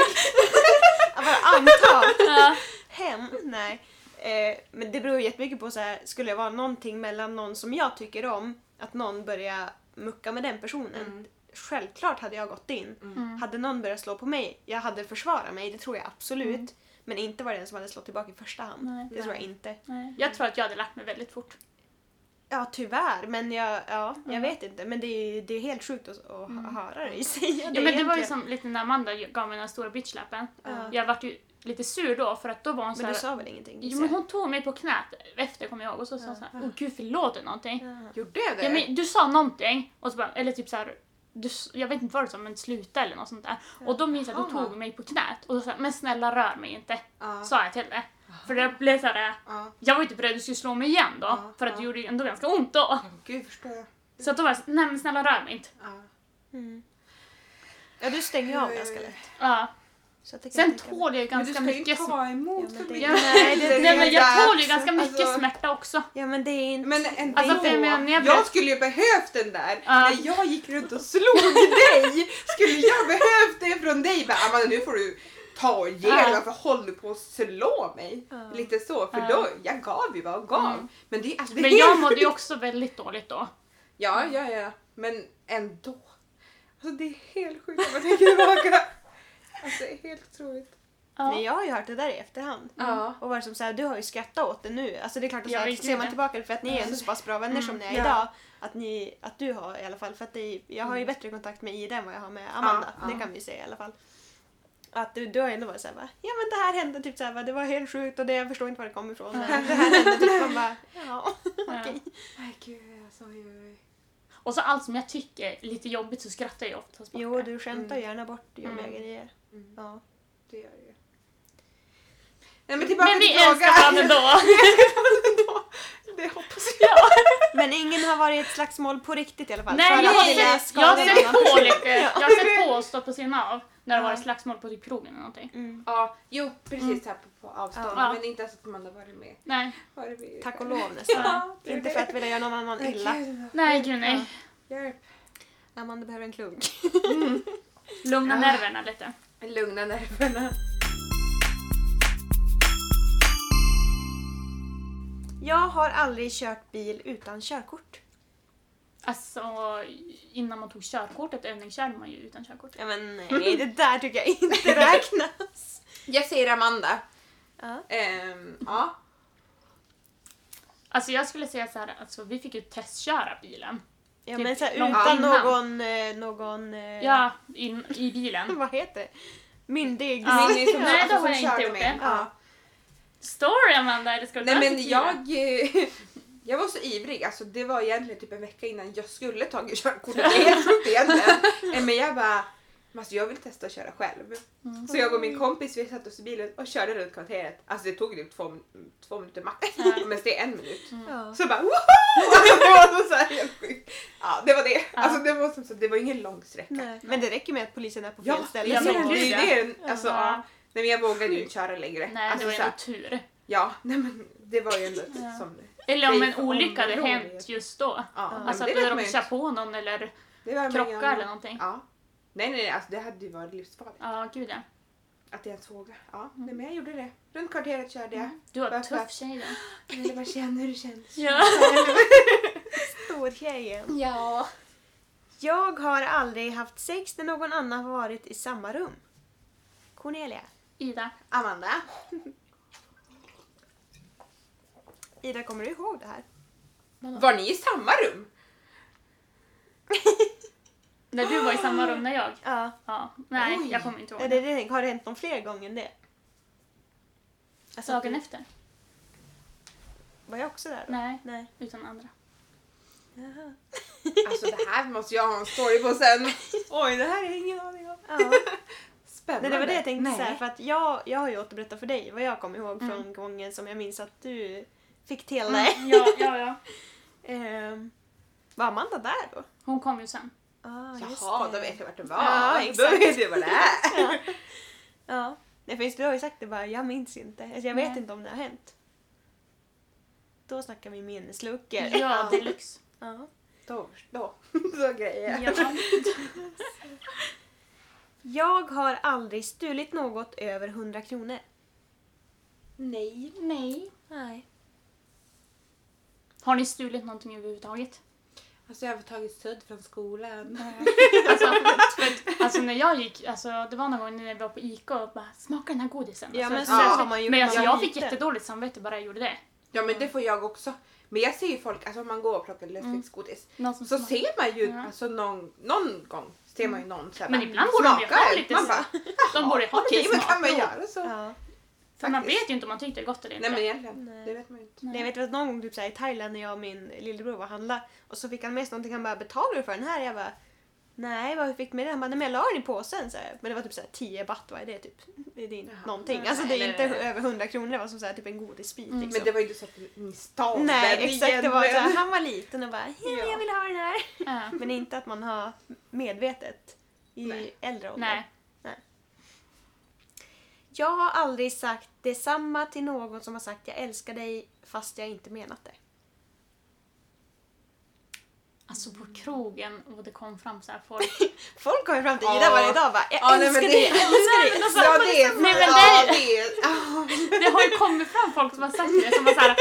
Jag bara anta! Ja. Hen? Nej. Eh, men det beror ju jättemycket på så här, skulle det vara någonting mellan någon som jag tycker om, att någon börjar mucka med den personen. Mm. Självklart hade jag gått in. Mm. Hade någon börjat slå på mig, jag hade försvarat mig, det tror jag absolut. Mm. Men inte var det den som hade slått tillbaka i första hand. Nej. Det tror jag inte. Nej. Jag tror att jag hade lagt mig väldigt fort. Ja, tyvärr. Men jag, ja, jag Mm. vet inte. Men det är, ju- det är helt sjukt att, att Mm. höra dig säga det. Ja, men det var ju egentligen. som lite när Amanda gav mig den här stora bitchlappen. Ja. Jag vart ju lite sur då för att då var hon så Men du här, sa väl ingenting? Jo, men hon tog mig på knät efter kommer jag ihåg och så sa hon såhär, åh gud förlåt du någonting. Ja. Gjorde jag det? Ja, men du sa någonting, och så bara, eller typ såhär, du, s- jag vet inte vad du sa men sluta eller något sånt där. Och då minns jag att du Jaha. tog mig på knät och då sa jag, men snälla rör mig inte, Ja, sa jag till dig. För det blev såhär, ja. jag var ju inte beredd att du skulle slå mig igen då, Ja, för att det ja. gjorde ju ändå ganska ont då. Ja, Gud, förstår jag. Så att då var jag så, nej men snälla rör mig inte. Ja. Mm. ja, du stänger ju av ganska lätt. Ja. Så att det kan Sen jag tänka mig. tål jag ju Men du ganska ska ju inte mycket smärta. ta emot Ja, men så det- mycket. Ja, *laughs* nej, det- Nej men jag tål ju ganska Alltså- mycket smärta också. Ja, men det är inte... Men eh, ändå. Alltså, för jag menar, när jag jag, blev- skulle ju behövt den där. Ja. När jag gick runt och slog dig skulle jag behövt det från dig. Bara, Amanda nu får du ta och ge Ja. dig. Varför håller du på att slå mig? Ja. Lite så. För Ja. då, jag gav ju vad jag gav. Mm. Men det är alltså, det Men är jag helt mådde ju sjukt. också väldigt dåligt då. Ja, ja, ja. Men ändå. Alltså det är helt sjukt om man tänker tillbaka. Alltså det är helt otroligt. Mm. Men jag har ju hört det där i efterhand. Ja. Och var som så här, du har ju skrattat åt det nu. Alltså det är klart att Ja, så här, visst ser man gjorde. tillbaka det Alltså, för att ni är ändå så pass bra vänner Mm, som ni är ja. idag. Att, ni, att du har i alla fall, för att det, jag har ju bättre kontakt med Ida än vad jag har med Amanda. Ja, det ja. kan vi ju säga i alla fall. Att du, du har ju ändå varit såhär va, ja men det här hände typ såhär va, det var helt sjukt och det, jag förstår inte var det kom ifrån. men Det här hände typ, man *laughs* bara, ja. Ja. Nej gud alltså. Oj, oj, oj. Och så allt som jag tycker är lite jobbigt så skrattar jag oftast bort Jo det. du skämtar Mm. gärna bort jobbiga Mm. grejer. Mm. Ja. Det gör det ju. Nej men tillbaka Men vi till frågan. älskar varandra ändå! Det hoppas jag. Men ingen har varit i ett slagsmål på riktigt i alla fall. Nej, För jag alla har dina sett, jag skador har och sett annat. *laughs* på lite, jag har sett på och stått på sina av när det Ja. varit slagsmål på typ krogen eller någonting. Mm. Ja, jo precis här på, på avstånd. Mm. Ja. Men inte ens att man har varit med. Nej, Varit med. Tack och lov nästan. *laughs* Ja, det är Inte det. för att vilja göra någon annan Nej, illa. gud, nej gud nej. Ja. Hjälp. Amanda behöver en klunk. Lugna Ja. nerverna lite. Lugna nerverna. Jag har aldrig kört bil utan körkort. Alltså innan man tog körkortet övningskörde man ju utan körkort. Ja men nej, *laughs* det där tycker jag inte räknas. Jag säger Amanda. Ja. Ehm, ja. Alltså jag skulle säga så här, alltså vi fick ju testköra bilen. Ja Typ men såhär långt utan innan. någon, eh, någon... eh, Ja, in, i *laughs* bilen. Vad heter det? Myndig. Ja. *laughs* Min är *laughs* som- Nej, då som har jag inte körde gjort mig. det. Ja. Story Amanda, eller ska du Nej läsa men till jag... den? eh, *laughs* Jag var så ivrig, alltså det var egentligen typ en vecka innan jag skulle tagit körkortet. Det är helt sjukt egentligen. *laughs* Eh, Men jag bara, "Men alltså jag vill testa att köra själv. Mm. Så jag och min kompis vi satte oss i bilen och körde runt kvarteret. Alltså det tog typ två, två minuter max. Ja. *laughs* Men det är en minut. Mm. Ja. Så bara woho! Alltså det *laughs* var så här helt sjukt. Ja det var det. Ja. Alltså det var som så, det var ingen lång sträcka. Nej. Men det räcker med att polisen är på fel Ja, det ställe. ja, är så- men det. gud, är ju det. Alltså, Ja. ja. Nej men jag vågade ju inte köra längre. Nej, alltså, det var så ju här, nog tur. ja, nej men det var ju ändå Ja. som Eller om Dig en för olycka hade området. hänt just då. Ja, men Alltså att det du vet man ju råkar inte. på någon eller Det var krockar eller någonting. Ja, Ja. Nej, nej, nej, alltså det hade ju varit livsfarligt. gud ja. Att jag ens vågade. Ja, nej, men jag gjorde det. Runt kvarteret körde jag. Du var en Varför? tuff tjej då. Jag ville bara känna hur det kändes. Ja. Stortjejen. *laughs* ja. Jag har aldrig haft sex när någon annan har varit i samma rum. Cornelia. Ida. Amanda. Ida, kommer du ihåg det här? Var ni i samma rum? När du var i samma *gasps* rum när jag. Ja. Ja. Nej, Oj. jag kommer inte ihåg. Är det, det, har det hänt någon fler gånger än det? Alltså, Dagen du- efter? Var jag också där då? Nej, Nej. utan andra. Jaha. Alltså det här måste jag ha en story på sen. Oj, det här är ingen aning om. Ja. *laughs* Spännande. Nej, det var det jag tänkte Nej. så här, för att jag, jag har ju återberättat för dig vad jag kommer ihåg från gången som jag minns att du fick Mm. till dig. Ja, ja, ja. Ehm, var Amanda där då? Hon kom ju *laughs* sen. Ah, just Jaha, det. då vet jag vart det var. Ja, Då exakt. vet jag vad det *laughs* är. Ja. Nej, för just du har ju sagt det bara, jag minns inte. Alltså, jag vet Nej. inte om det har hänt. Då snackar vi minnesluckor. Ja, deluxe. Ja. Då, då. *laughs* Så grejer. Ja. Jag har aldrig stulit något över 100 kronor. Nej. Nej. Nej. Har ni stulit någonting överhuvudtaget? Alltså jag har tagit stöd från skolan. *laughs* Alltså, för, alltså när jag gick, alltså, det var någon gång när vi var på Ica och bara smaka den här godisen. Ja, alltså, men så så här- har man gjort men när alltså, man jag var fick liten. jättedåligt samvete bara jag gjorde det. Ja men det får jag också. Men jag ser ju folk, alltså om man går och plockar Mm. lösviktsgodis Någon som så smakar. ser man ju, Ja. alltså någon, någon gång ser man ju Mm. någon så här, Men bara, ibland borde de ju smakar. ha lite Man bara, De borde ha okej lite men kan man smakprov. göra så? Ja. För man Faktiskt. vet ju inte om man tyckte det var gott eller inte. Nej men egentligen, Nej. det vet man ju inte. Nej, Jag vet att någon gång typ, så här, i Thailand när jag och min lillebror var och handlade och så fick han med sig någonting han bara betalade du för den här? Jag bara Nej, vad fick med den? Han bara, nej men jag la den i påsen. Så här. Men det var typ så här 10 baht, vad är det typ? Det är din, Jaha. någonting. Nej, Alltså det är nej, inte nej, nej. över 100 kronor, det var som så här, typ en godisbit. Liksom. Mm, Men det var ju inte så att ni stal den nej, exakt. Det var så här, *laughs* egentligen. han var liten och bara ja, Ja. jag vill ha den här. *laughs* Ja. Men inte att man har medvetet i Nej. äldre ålder. Nej. Jag har aldrig sagt detsamma till någon som har sagt jag älskar dig fast jag inte menat det. Alltså på krogen och det kom fram så här folk. Folk kommer fram till Ja. Ida varje dag och bara jag Ja, nej, älskar men dig, jag det- älskar dig. Alltså, *laughs* Ja det är Nej, men ja, det- det är- *laughs* ah. Det *laughs* har ju kommit fram folk som har sagt det som var så här,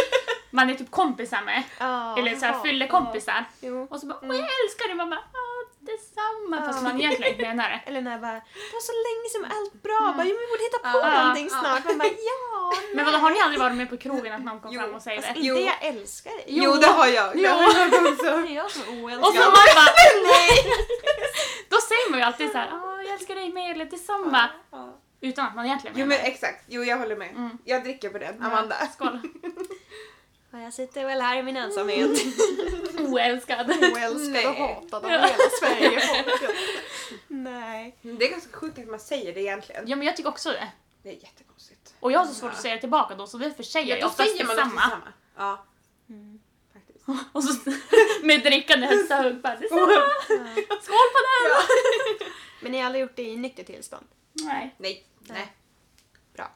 man är typ kompisar med. ja, Mm. eller så här jaha. fyllekompisar. Ja. Jo. Och så bara åh jag älskar dig man bara ja detsamma. Fast man egentligen inte menar det. Eller när jag bara det var så länge som allt bra, bara, jo, men vi borde hitta på Mm. Ja. någonting Ja. snart. Man bara *laughs* ja, Men vadå, har ni aldrig varit med på krogen att någon kom Jo, fram och säger alltså, det? inte Jo. jag älskar dig. Jo det har jag. Jo. Det har jag också. Det är jag som är Och så oälskad. man bara nej! Då säger man ju alltid så här ja jag älskar dig med eller detsamma. Ja. Utan att man egentligen *laughs* Jo menar men det. exakt, jo jag håller med. Mm. Jag dricker på den, Ja, Amanda. Skål. Och jag sitter väl här i min ensamhet. Oälskad. *laughs* Oälskad och Mm. Nej. hatad av hela *laughs* Sverige. Nej. Mm. Det är ganska sjukt att man säger det egentligen. Ja men jag tycker också det. Det är jättekonstigt. Och jag har så svårt att säga det tillbaka då så därför säger jag oftast detsamma. detsamma. Ja, Mm. faktiskt. *laughs* Och så *laughs* med drickande högsta hugg bara detsamma. Ja. Skål på den! *laughs* Men ni har aldrig gjort det i nyktert tillstånd? Nej. Nej, nej. Bra.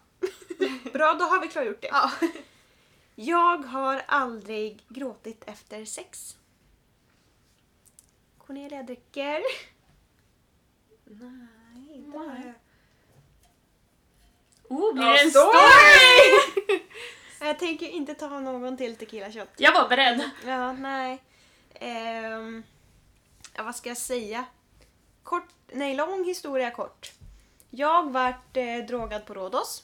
Bra, då har vi klargjort det. Ja. Jag har aldrig gråtit efter sex. Cornelia dricker. Nej, inte har jag. inte Oh, blir Ja, det en story! story? Jag tänker inte ta någon till tequila shot. Jag var beredd. *laughs* Ja, nej. Ehm, ja, vad ska jag säga? Kort, nej, lång historia kort. Jag vart eh, drogad på Rhodos.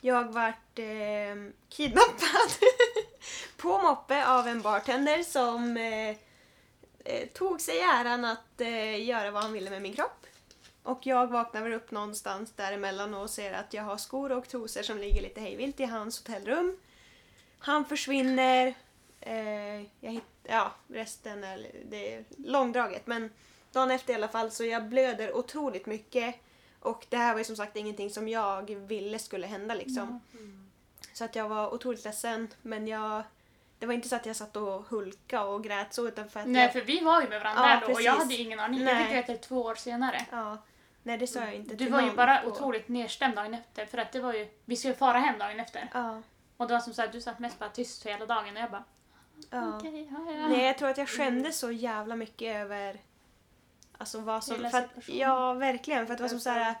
Jag vart eh, kidnappad *laughs* på moppe av en bartender som eh, eh, tog sig äran att eh, göra vad han ville med min kropp. Och jag vaknar väl upp någonstans däremellan och ser att jag har skor och trosor som ligger lite hejvilt i hans hotellrum. Han försvinner. Eh, jag hitt, ja, resten är, det är långdraget. Men dagen efter i alla fall så jag blöder otroligt mycket. Och det här var ju som sagt ingenting som jag ville skulle hända liksom. Mm. Så att jag var otroligt ledsen. Men jag, det var inte så att jag satt och hulka och grät så utan för att Nej jag, för vi var ju med varandra Ja, då och jag precis. hade ingen aning. Nej. Jag fick veta det två år senare. Ja. Nej, det sa jag inte Du till var ju någon bara på- otroligt nedstämd dagen efter för att det var ju, vi skulle fara hem dagen efter. Ja. Och det var som så här, du satt mest bara tyst hela dagen och jag bara Ja. Okej, ja, ja. Nej, jag tror att jag skämdes så jävla mycket över Alltså vad som... Hela För att, situationen. ja, verkligen. För att det var som så här,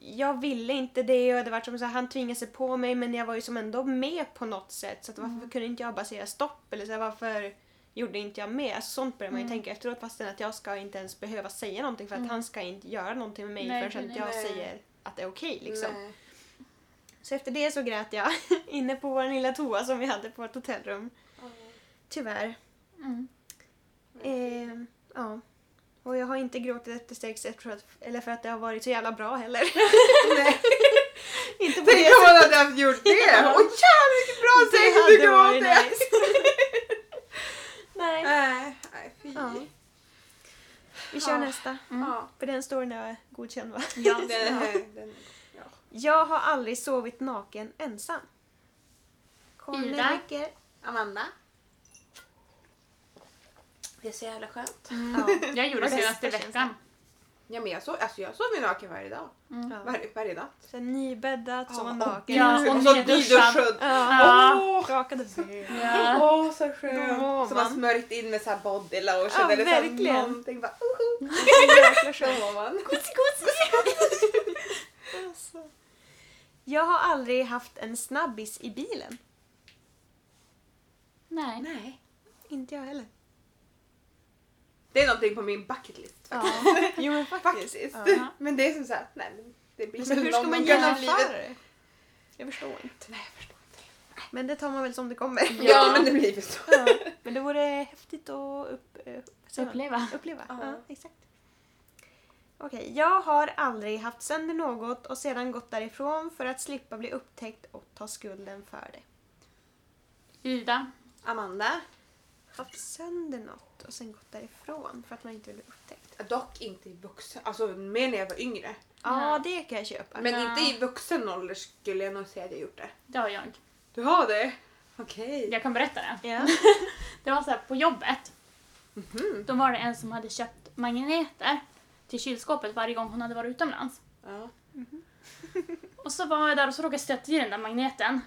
jag ville inte det och det var som så här, han tvingade sig på mig men jag var ju som ändå med på något sätt. Så att varför kunde inte jag bara säga stopp? Eller så här, varför gjorde inte jag med? Alltså, sånt börjar man ju tänka efteråt fastän att jag ska inte ens behöva säga någonting för att han ska inte göra någonting med mig Nej, förrän att nej, jag nej. säger att det är okej. liksom. Nej. Så efter det så grät jag *laughs* inne på vår lilla toa som vi hade på vårt hotellrum. Tyvärr. Mm. Eh, ja. Och jag har inte gråtit efter sex för att, eller för att det har varit så jävla bra heller. *laughs* Nej. inte på *laughs* Tänk det om man hade haft gjort det! Ja. Åh jävlar vilken bra Alltså, sex du gav det! nice. *laughs* Nej. Nej, nej, fy. Ja. Vi kör Ja. nästa. Ja. För den står är godkänd va? Ja. Den, den, Jag har aldrig sovit naken ensam. Kom nu Ida. räcker. Amanda. Det är så jävla skönt. Ja. Jag gjorde Bästa senaste känslan. veckan. Ja, men jag, sov, alltså, jag sov ju naken varje dag. Ja. Varje, varje natt. Så nybäddat, sova Ja, och- naken. Ja, och Och så nedduschad. nyduschad. Ja. Ja. Rakade *laughs* ben. Ja. Åh, så Då mår skönt! Som man man. smörjt in med så här body lotion Ja, eller så verkligen. här någonting. Bara, uh, uh. *laughs* Jäkla skönt. Så mår man. Alltså. Jag har aldrig haft en snabbis i bilen. Nej. Nej. Inte jag heller. Det är någonting på min bucket list. Ja. *laughs* Jo men faktiskt. Faktiskt. Ja. Men det är som så här, nej men det blir Men så hur ska någon man gång kanske i genomföra livet. det? Jag förstår inte. Nej, jag förstår inte. Men det tar man väl som det kommer. *laughs* Ja, men det blir väl så. Ja. *laughs* Men det vore häftigt att upp, eh, vad säger man? Uppleva. uppleva. Ja. Ja, exakt. Okej, jag har aldrig haft sönder något och sedan gått därifrån för att slippa bli upptäckt och ta skulden för det. Ida. Amanda, Haft sönder något och sen gått därifrån för att man inte vill bli upptäckt. dock inte i vuxen, alltså mer när jag var yngre. Ja, det kan jag köpa. Men Ja. inte i vuxen ålder skulle jag nog säga att jag gjort det. Det har jag. Du har det? Okej. Jag kan berätta det. Ja. Det var så här på jobbet. Mhm. Då var det en som hade köpt magneter till kylskåpet varje gång hon hade varit utomlands. Ja. Och så var jag där och så råkade jag stöta i den där magneten.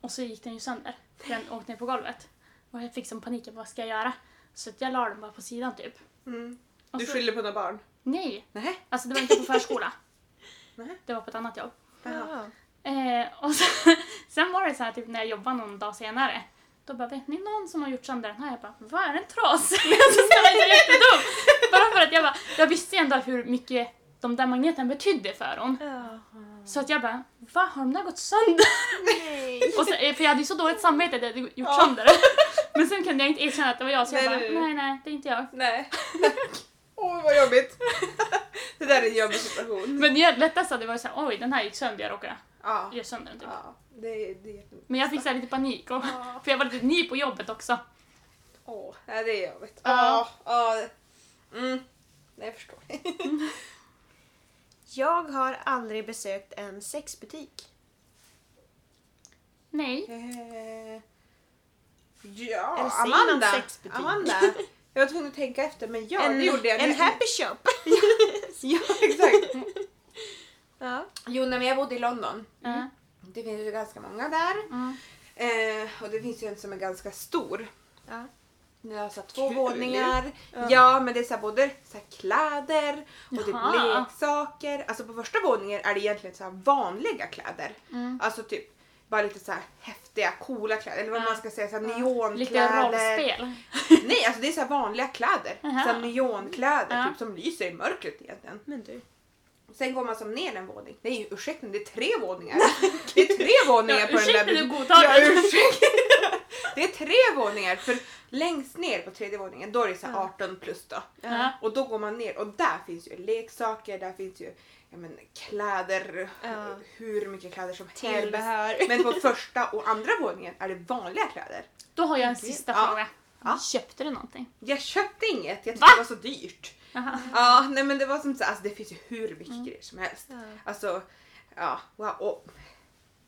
Och så gick den ju sönder. Den åkte ner på golvet. Och jag fick som panik, jag bara, vad ska jag göra? Så att jag la den bara på sidan typ. Mm. Och Du så, skyller på några barn? Nej! Nej. Alltså det var inte på förskola. *laughs* Nej. Det var på ett annat jobb. Ja. Eh, och så, *laughs* sen var det så här typ när jag jobbade någon dag senare. Då bara, vet ni någon som har gjort sönder den här? Jag bara, vad är den trasig? *laughs* Alltså, så jag var jättedum. Bara för att jag bara, jag visste ju ändå hur mycket de där magneten betydde för hon. Ja. Så att jag bara, va har de där gått sönder? Nej. Och så, eh, för jag hade ju så dåligt samvete att jag hade gjort Ja. sönder det. *laughs* Men sen kunde jag inte erkänna att det var jag så jag Nej, bara, nej nej, nej det är inte jag. Nej. Åh vad jobbigt. det där är en jobbig situation. Men det lättaste hade varit såhär, oj den här gick sönder, jag råkade Ja. göra sönder den typ. ja. Det, det, Men jag fick så här lite panik, och, Ja. *laughs* för jag var lite ny på jobbet också. Åh, nej, det är jobbigt. Ja. Ja. ja. Mm. Nej, jag förstår. Jag har aldrig besökt en sexbutik. Nej. *laughs* Eh, ja, Eller säger man Amanda. sexbutik? Amanda. Jag var tvungen att tänka efter, men ja, en, det gjorde jag. En Nej, happy shop. Ja, exakt. Ja. *laughs* Jo, nej, men jag bodde i London. Mm. Det finns ju ganska många där. Mm. Eh, och det finns ju en som är ganska stor. Ja. Den har så här två Kul. våningar. Ja. Ja. men det är så här både så här kläder och det Jaha. är leksaker. Alltså på första våningen är det egentligen så här vanliga kläder. Mm. Alltså typ bara lite så här häftiga, coola kläder. Eller vad Ja. man ska säga, så här Ja. neonkläder. Lite rollspel. Nej, alltså det är så här vanliga kläder. Jaha. Så här neonkläder Ja. typ, som lyser i mörkret egentligen. Men du. Sen går man som ner en våning. Nej ursäkta, det är tre våningar. Det är tre våningar Ja, på den ursäkta där du butiken. godtar Ja, det. ursäkta. Det är tre våningar för längst ner på tredje våningen då är det så här Ja. 18 plus då. Ja. Och då går man ner och där finns ju leksaker, där finns ju ja, men, kläder, Ja. hur mycket kläder som helst. Tillbehör. Men på första och andra våningen är det vanliga kläder. Då har jag en sista Ja. fråga. Ja. Köpte du någonting? Jag köpte inget, jag tyckte Va? det var så dyrt. Jaha. Ja, nej men det var som så alltså det finns ju hur mycket Mm. grejer som helst. Ja. Alltså, ja, wow. Och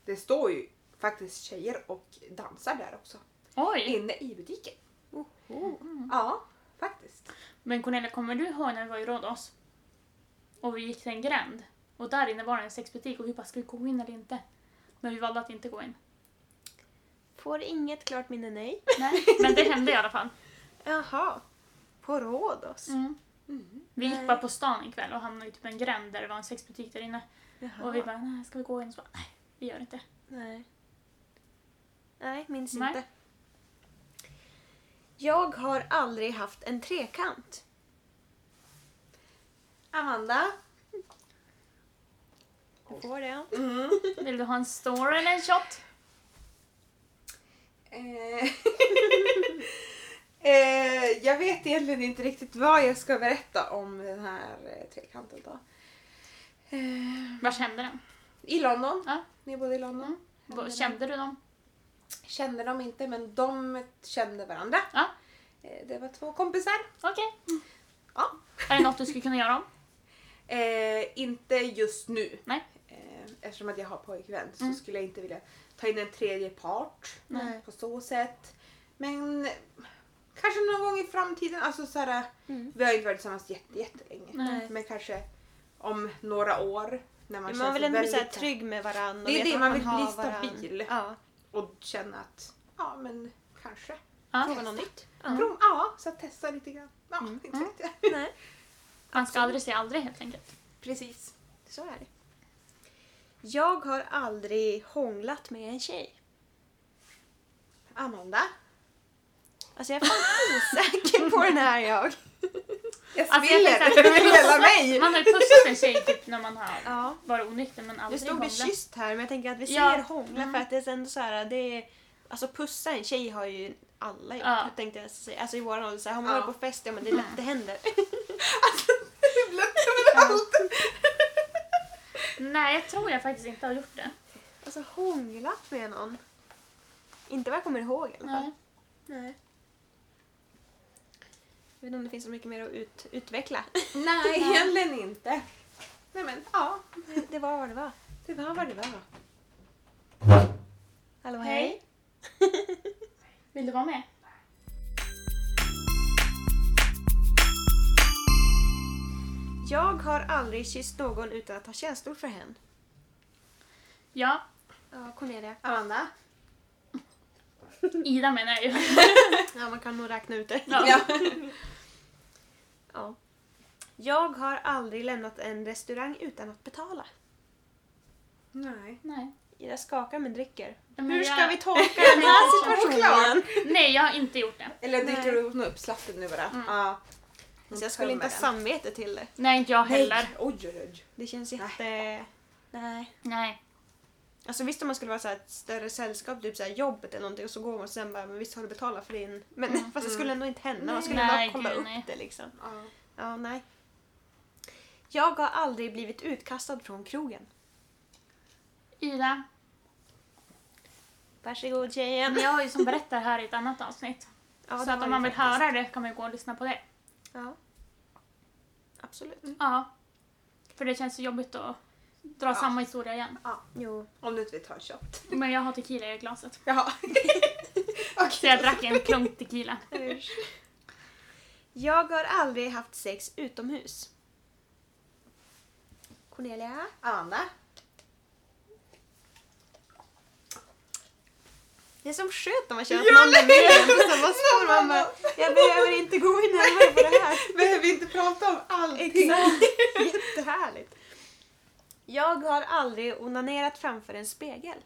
det står ju faktiskt tjejer och dansar där också. Oj! Inne i butiken. Oh. Mm. Ja, faktiskt. Men Cornelia, kommer du ihåg när vi var i Rhodos? Och vi gick till en gränd. Och där inne var det en sexbutik och vi bara, ska vi gå in eller inte? Men vi valde att inte gå in. Får inget klart minne nej. Nej, *laughs* men det hände i alla fall. Jaha. På Rhodos. Vi gick Mm. Nej. bara på stan en kväll och hamnade i typ en gränd där det var en sexbutik där inne. Jaha. Och vi bara, nej ska vi gå in? Och så bara, nej vi gör inte. Nej. Nej, minns Nej. inte. Jag har aldrig haft en trekant. Amanda? Du får det. Mm. *laughs* Vill du ha en story eller en shot? Eh, *laughs* eh, jag vet egentligen inte riktigt vad jag ska berätta om den här eh, trekanten då. Eh, Vart hände den? I London. Ja. Ni bodde i London. Mm. Vad- Kände du dem? Kände de inte men de kände varandra. Ja. Eh, det var två kompisar. Okej. Mm. Ja. Är det något du skulle kunna göra om? Eh, inte just nu. Nej. Eh, eftersom att jag har pojkvän Mm. så skulle jag inte vilja ta in en tredje part Nej. på så sätt. Men eh, kanske någon gång i framtiden. Alltså så här, Mm. Vi har ju inte varit tillsammans jätte, jättelänge. Nej. Men kanske om några år. När man, Man, känner vill sig ändå bli väldigt så här trygg med varandra. Det är det, att man vill har bli stabil. Ja. Och känna att ja men kanske. Ja. Fråga något nytt. Ja. Ja, ja så att testa lite grann. Ja, Mm. inte vet jag. Nej, Man ska aldrig säga aldrig helt enkelt. Precis. *laughs* så är det. Jag har aldrig hånglat med en tjej. Amanda. Alltså jag är fan osäker på den här jag. Jag Alltså, jag spiller tänkte över *laughs* hela mig. Man har ju pussat en tjej typ när man har Ja. varit onykter men Det aldrig stod det hånglat. kysst här men jag tänker att vi Ja. Mm. säger hångla för att det är ändå så här, det är, alltså pussa en tjej har ju alla gjort Ja. tänkte jag säga. Alltså i våran ålder så här, har man Ja. varit på fest, ja men det är lätt det *laughs* händer. Alltså, Blött överallt. Nej, jag tror jag faktiskt inte har gjort det. Alltså hånglat med någon. Inte vad jag kommer ihåg i alla fall. Nej. Nej. Jag vet inte om det finns så mycket mer att ut, utveckla. *laughs* Nej, Ja. *laughs* egentligen inte. Nej men ja, Det var vad det var. det var vad det var. Hallå Hej. hej. *laughs* Vill du vara med? Jag har aldrig kysst någon utan att ha känslor för henne. Ja, Ja, Cornelia. Amanda. Mm. Ida menar *laughs* jag ju. Ja, man kan nog räkna ut det. Ja. Ja. Ja. Jag har aldrig lämnat en restaurang utan att betala. Nej. Nej. Jag skakar men dricker. Men Hur ska *laughs* jag- vi tolka den här situationen? Nej, jag har inte gjort det. Eller Nej. dricker du nog upp slatten nu bara? Mm. Ja. Så jag skulle inte ha samvete till det. Nej, inte jag heller. Nej. Oj, oj, oj. Det känns jätte... Nej. Nej. Alltså visst om man skulle vara så här ett större sällskap, typ så här jobbet eller någonting och så går man och sen bara men visst har du betalat för din... Men *laughs* Mm. fast det skulle ändå inte hända, man Nej. skulle bara Nej, kolla gud, upp nej. det liksom. Ja. Ja, nej. Jag har aldrig blivit utkastad från krogen. Ida, Varsågod tjejen. jag har ju som berättar här i ett annat avsnitt. Ja, så det att var om man det vill faktiskt. höra det kan man ju gå och lyssna på det. Ja. Absolut. Ja. För det känns så jobbigt att dra Ja. samma historia igen. Jo. Om du inte vill ta en shot. Men jag har tequila i glaset. *laughs* Jaha. Så jag drack en klunk tequila. Usch. Jag har aldrig haft sex utomhus. Cornelia? Amanda. Det är som skönt när man känner att man är med på samma spår. Man bara, jag behöver inte gå in närmare på det här. Behöver vi inte prata om allting? Exakt. Jättehärligt. Jag har aldrig onanerat framför en spegel.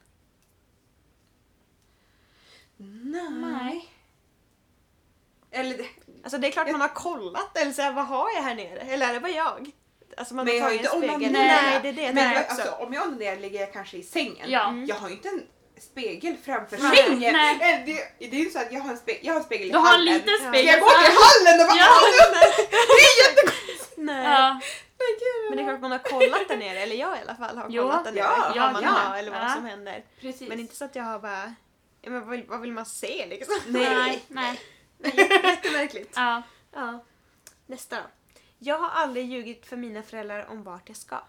Nej. Eller det. Alltså det är klart man har kollat eller så här, vad har jag här nere? Eller är det bara jag? Alltså man Men jag har har tagit inte en spegel. onanerat. Nej, det är det jag Men jag, tänker också. alltså, om jag onanerar ligger jag kanske i sängen. Ja. Mm. Jag har ju inte en spegel framför Nej. sängen. Nej. Eh, Det, det är ju så att jag har en, spe, jag har en spegel Du har en hallen. liten Ja. Ska spegel jag gå till så- hallen och bara Ja. *laughs* Det är jättekonstigt! Nej. Ja. Men det är klart man har kollat där nere, eller jag i alla fall har Jo. kollat där nere. Ja, vad man ja. har eller vad Ja. som händer. Precis. Men inte så att jag har bara... Ja, men vad, vill, vad vill man se liksom? *laughs* Nej. Nej. Jättemärkligt. Ja. Ja. Nästa då. Jag har aldrig ljugit för mina föräldrar om vart jag ska.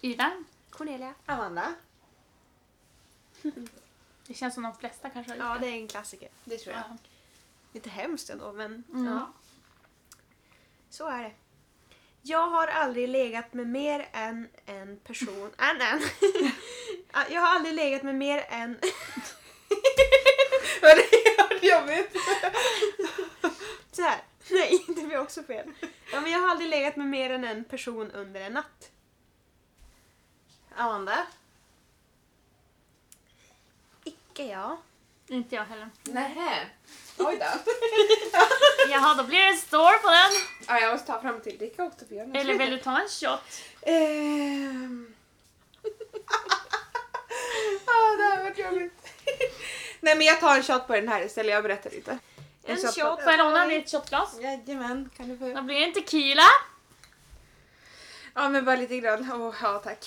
Ida, Cornelia? Amanda. det känns som de flesta kanske har gjort Ja, det är en klassiker. Det tror jag. Ja. Lite hemskt ändå, men Mm. ja, så är det. Jag har aldrig legat med mer än *laughs* en person... Än en. Jag har aldrig legat med mer än... Vad det är jobbigt. *laughs* Så här. Nej, det blir också fel. Ja, men jag har aldrig legat med mer än en person under en natt. Amanda? Icke jag. Inte jag heller. Nähä. Oj då. Jaha, då blir det en stor på den. *laughs* Ja, jag måste ta fram till dricka också för jag är Eller vill du ta en shot? Ehm. ah, det här var jobbigt. *laughs* Nej men jag tar en shot på den här istället, jag berättar lite. En shot på- shot. Får jag låna ditt shotglas? Jajamän, kan du få Då blir det *laughs* en tequila. Ja men bara lite grann. Åh, ja tack.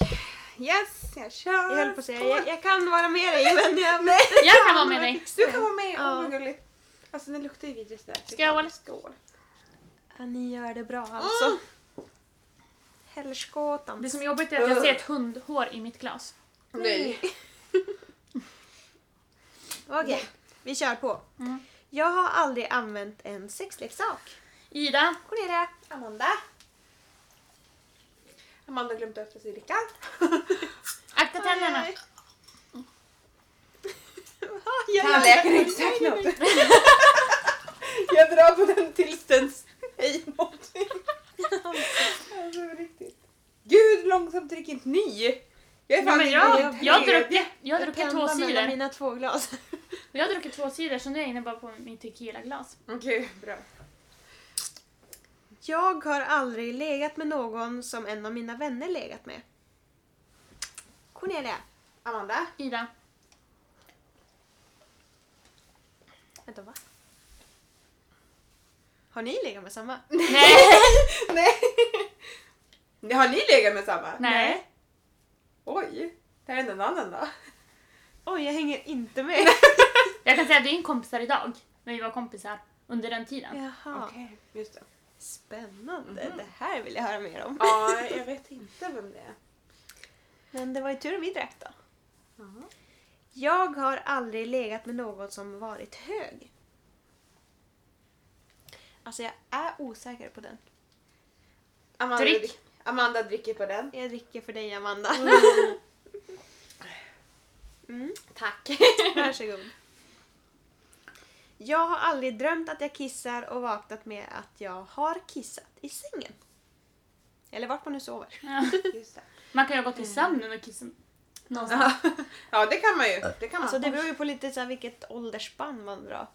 Yes, jag kör! Jag höll på att säga, jag, jag kan vara med dig *laughs* men jag... Nej. Jag kan vara med dig. Du kan vara med! Åh Ja. vad gulligt. Alltså den luktar ju vidrigt där. Skål. Skål! Ja, ni gör det bra alltså. Mm. Det Helskotan. som är jobbigt är att jag ser ett hundhår i mitt glas. Nej. Okej, vi kör på. Mm. Jag har aldrig använt en sexleksak. Ida, Cornelia. Amanda. *laughs* Amanda glömde öppna sin dricka. akta tänderna. Nej. Tandläkaren inte sagt något. *laughs* jag drar på den tills den säger *laughs* någonting. alltså på riktigt. Gud långsamt drick inte ni! Jag är Nej, fan men inne i jag, den jag, tredje. druck, jag har druckit två pendlar mellan sidor. mina två glas. Jag har druckit två sidor så nu är jag inne bara på mitt tequila-glas. Okej, bra. Jag har aldrig legat med någon som en av mina vänner legat med. Cornelia. Amanda? Ida, Vänta, va? Har ni legat med samma? nej, Nej! *laughs* Har ni legat med samma? nej. Oj! Det här är någon annan då. Oj, jag hänger inte med. Jag kan säga att vi är en kompisar idag. Men vi var kompisar under den tiden. Jaha. Okej, just det. Spännande. Det här vill jag höra mer om. Ja, jag vet inte vem det är. Men det var ju tur vi drack då. Ja. Jag har aldrig legat med någon som varit hög. Alltså jag är osäker på den. Amanda, Drick. Amanda dricker på den. Jag dricker för dig Amanda. *laughs* Mm, Tack. varsågod. Jag har aldrig drömt att jag kissar och vaknat med att jag har kissat i sängen. Eller vart man nu sover. Ja. *laughs* Just det. Man kan ju gå till sömnen och kissa någonstans. Ja, det kan man ju. Det kan man. Alltså det beror ju på lite så här vilket ålderspann man drar.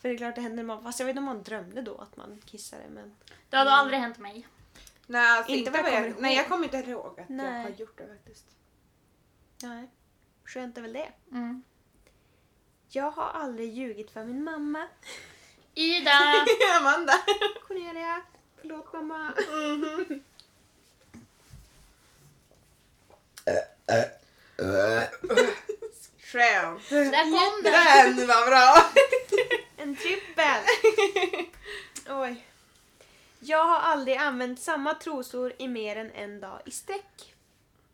För det är klart det händer man, fast jag vet inte om man drömde då att man kissade men... Det hade aldrig hänt mig. Nej, alltså, Inte inte vad jag vad jag, kommer ihåg. nej, jag kommer inte ihåg att jag Nej. har gjort det faktiskt. *laughs* Nej. Skönt är väl det. Mm. Jag har aldrig ljugit för min mamma. Ida! Amanda! Cornelia, förlåt mamma. Skönt! Där kom den! Den var bra! En trippel! Oj. Jag har aldrig använt samma trosor i mer än en dag i sträck.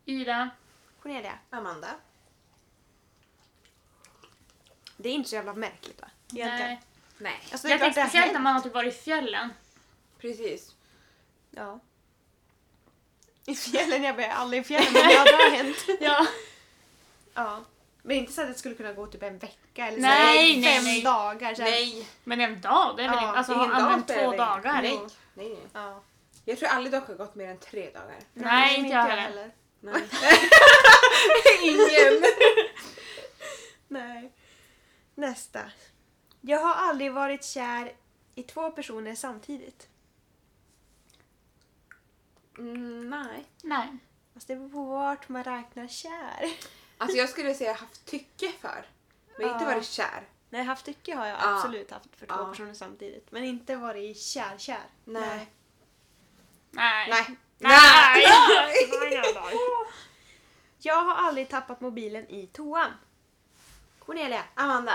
Ida. Cornelia, Amanda. det är inte så jävla märkligt va? Egentligen. Nej. Nej. Alltså, det är Jag klart det tänkte har speciellt när hänt. man har typ varit i fjällen. Precis. Ja. I fjällen, jag börjar aldrig i fjällen men ja, det har hänt. Ja. Ja. Men inte så att det skulle kunna gå typ en vecka eller så Nej, här, nej, fem nej. dagar. Så här. Nej. Men en dag, det är väl Ja, inte... Alltså ingen har använt dag spelar två det. dagar? Nej. Nej, nej. Ja. Jag tror aldrig dock har gått mer än tre dagar. Nej, som inte jag heller. Nej. *laughs* Ingen! Nej. Nästa. Jag har aldrig varit kär i två personer samtidigt. Mm, nej. Nej. Fast det beror på vart man räknar kär. Alltså jag skulle säga haft tycke för. Men inte Ja. varit kär. Nej, haft tycke har jag Ja. absolut haft för två Ja. personer samtidigt. Men inte varit kär-kär. Nej. Nej. Nej. Nej. *laughs* Jag har aldrig tappat mobilen i toan. Cornelia. Amanda.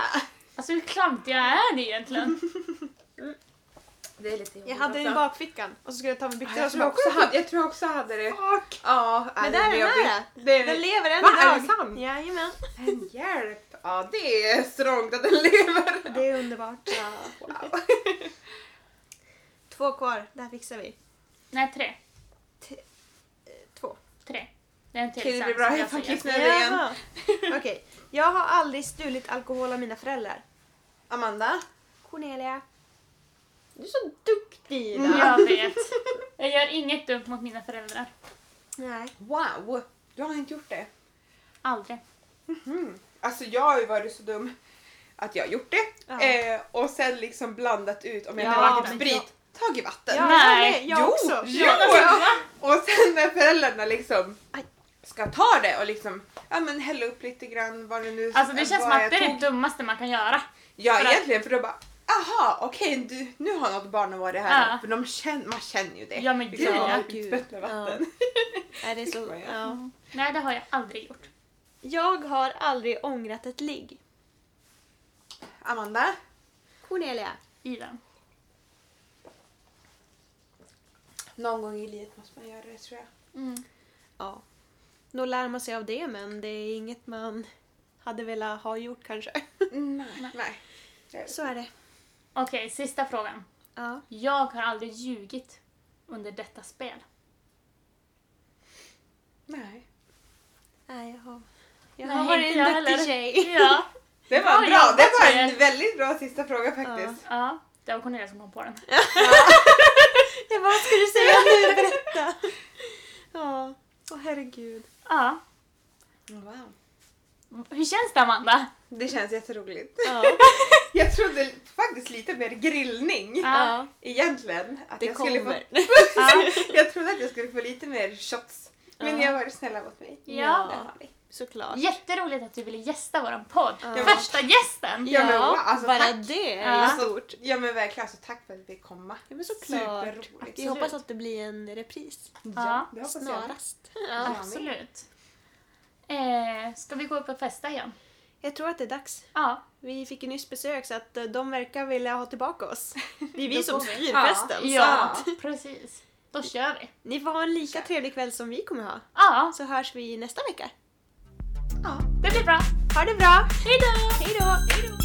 Alltså hur klantiga är ni egentligen? Det är lite Jag hade den i bakfickan och så skulle Alltså. jag ta med Ja, byxorna. jag, och så tror jag bara, också hade, jag tror jag också hade det. Fuck! Ja, Men det där är den jobbigt. här! Det är Den lever än Va, idag. är det sant? Jajamän. Men hjälp! Ja, det är strongt att den *laughs* *laughs* lever. Det är underbart. Ja, wow. Två kvar, det här fixar vi. Nej, tre. Två. Tre. Det är en till Okej, sen det blir som bra. jag Jag får säger. kissa igen. *laughs* Jaha. Okej. Jag har aldrig stulit alkohol av mina föräldrar. Amanda. Cornelia. Mm, Du är så duktig Ida. Jag vet. Jag gör inget dumt mot mina föräldrar. Nej. Wow! Du har inte gjort det. Aldrig. Alltså jag har ju varit så dum att jag har gjort det. Ja. Eh, och sen liksom blandat ut om jag Ja, hade druckit men sprit. Tagit vatten. Ja, Nej. Jag, jag jo, också. Jo. Och sen när föräldrarna liksom Aj. ska ta det och liksom ja, men hälla upp lite grann vad det nu Alltså det känns vad som att jag det är tog. det dummaste man kan göra. Ja för att- egentligen för då bara Aha, okej du, nu har något barn varit här. Ja. För de känner, man känner ju det. Ja, men liksom, gud, ja. utspätt med vatten. Nej, det är så, Vad jag- ja. Nej, det har jag aldrig gjort. Jag har aldrig ångrat ett ligg. *laughs* Amanda? Cornelia. Ida. Någon gång i livet måste man göra det tror jag. Mm. Ja. Då lär man sig av det men det är inget man hade velat ha gjort kanske. Nej. Nej. Så är det. Okej, sista frågan. Ja. Jag har aldrig ljugit under detta spel. Nej. Nej, jag har, jag Nej, har varit inte jag en duktig heller. tjej. *laughs* Ja. Det Ja, var en bra, ja, det var det- en väldigt bra sista fråga faktiskt. ja. Det var Cornelia som kom på den. *laughs* Jag bara, vad ska du säga nu? *laughs* Berätta! Ja. Åh herregud. Ja. Wow. Hur känns det Amanda? Det känns jätteroligt. *laughs* *laughs* Ja. Jag trodde faktiskt lite mer grillning Ja. egentligen. Att Det jag kommer. skulle få *laughs* jag trodde att jag skulle få lite mer shots. Men Ja. ni har varit snälla mot mig. Ja. Det har ni. Såklart. Jätteroligt att du ville gästa våran podd. Ja. Första gästen! Ja, men wow, alltså, bara tack. det är Ja. ju Alltså, stort. ja men verkligen alltså tack för att vi fick komma. Ja, men såklart. Superroligt. Vi hoppas att det blir en repris Ja, det hoppas jag. snarast. Ja. Ja. Absolut. Eh, ska vi gå upp och festa igen? Jag tror att det är dags. Ja. Vi fick ju nyss besök så att eh, de verkar vilja ha tillbaka oss. Det är vi Då som får vi. styr Ja. festen. så Ja, precis. Då kör vi. Ni får ha en lika trevlig kväll som vi kommer ha. Ja, Så hörs vi nästa vecka. Ja. det blir bra. Ha det bra! Hej då! Hej då! Hej då!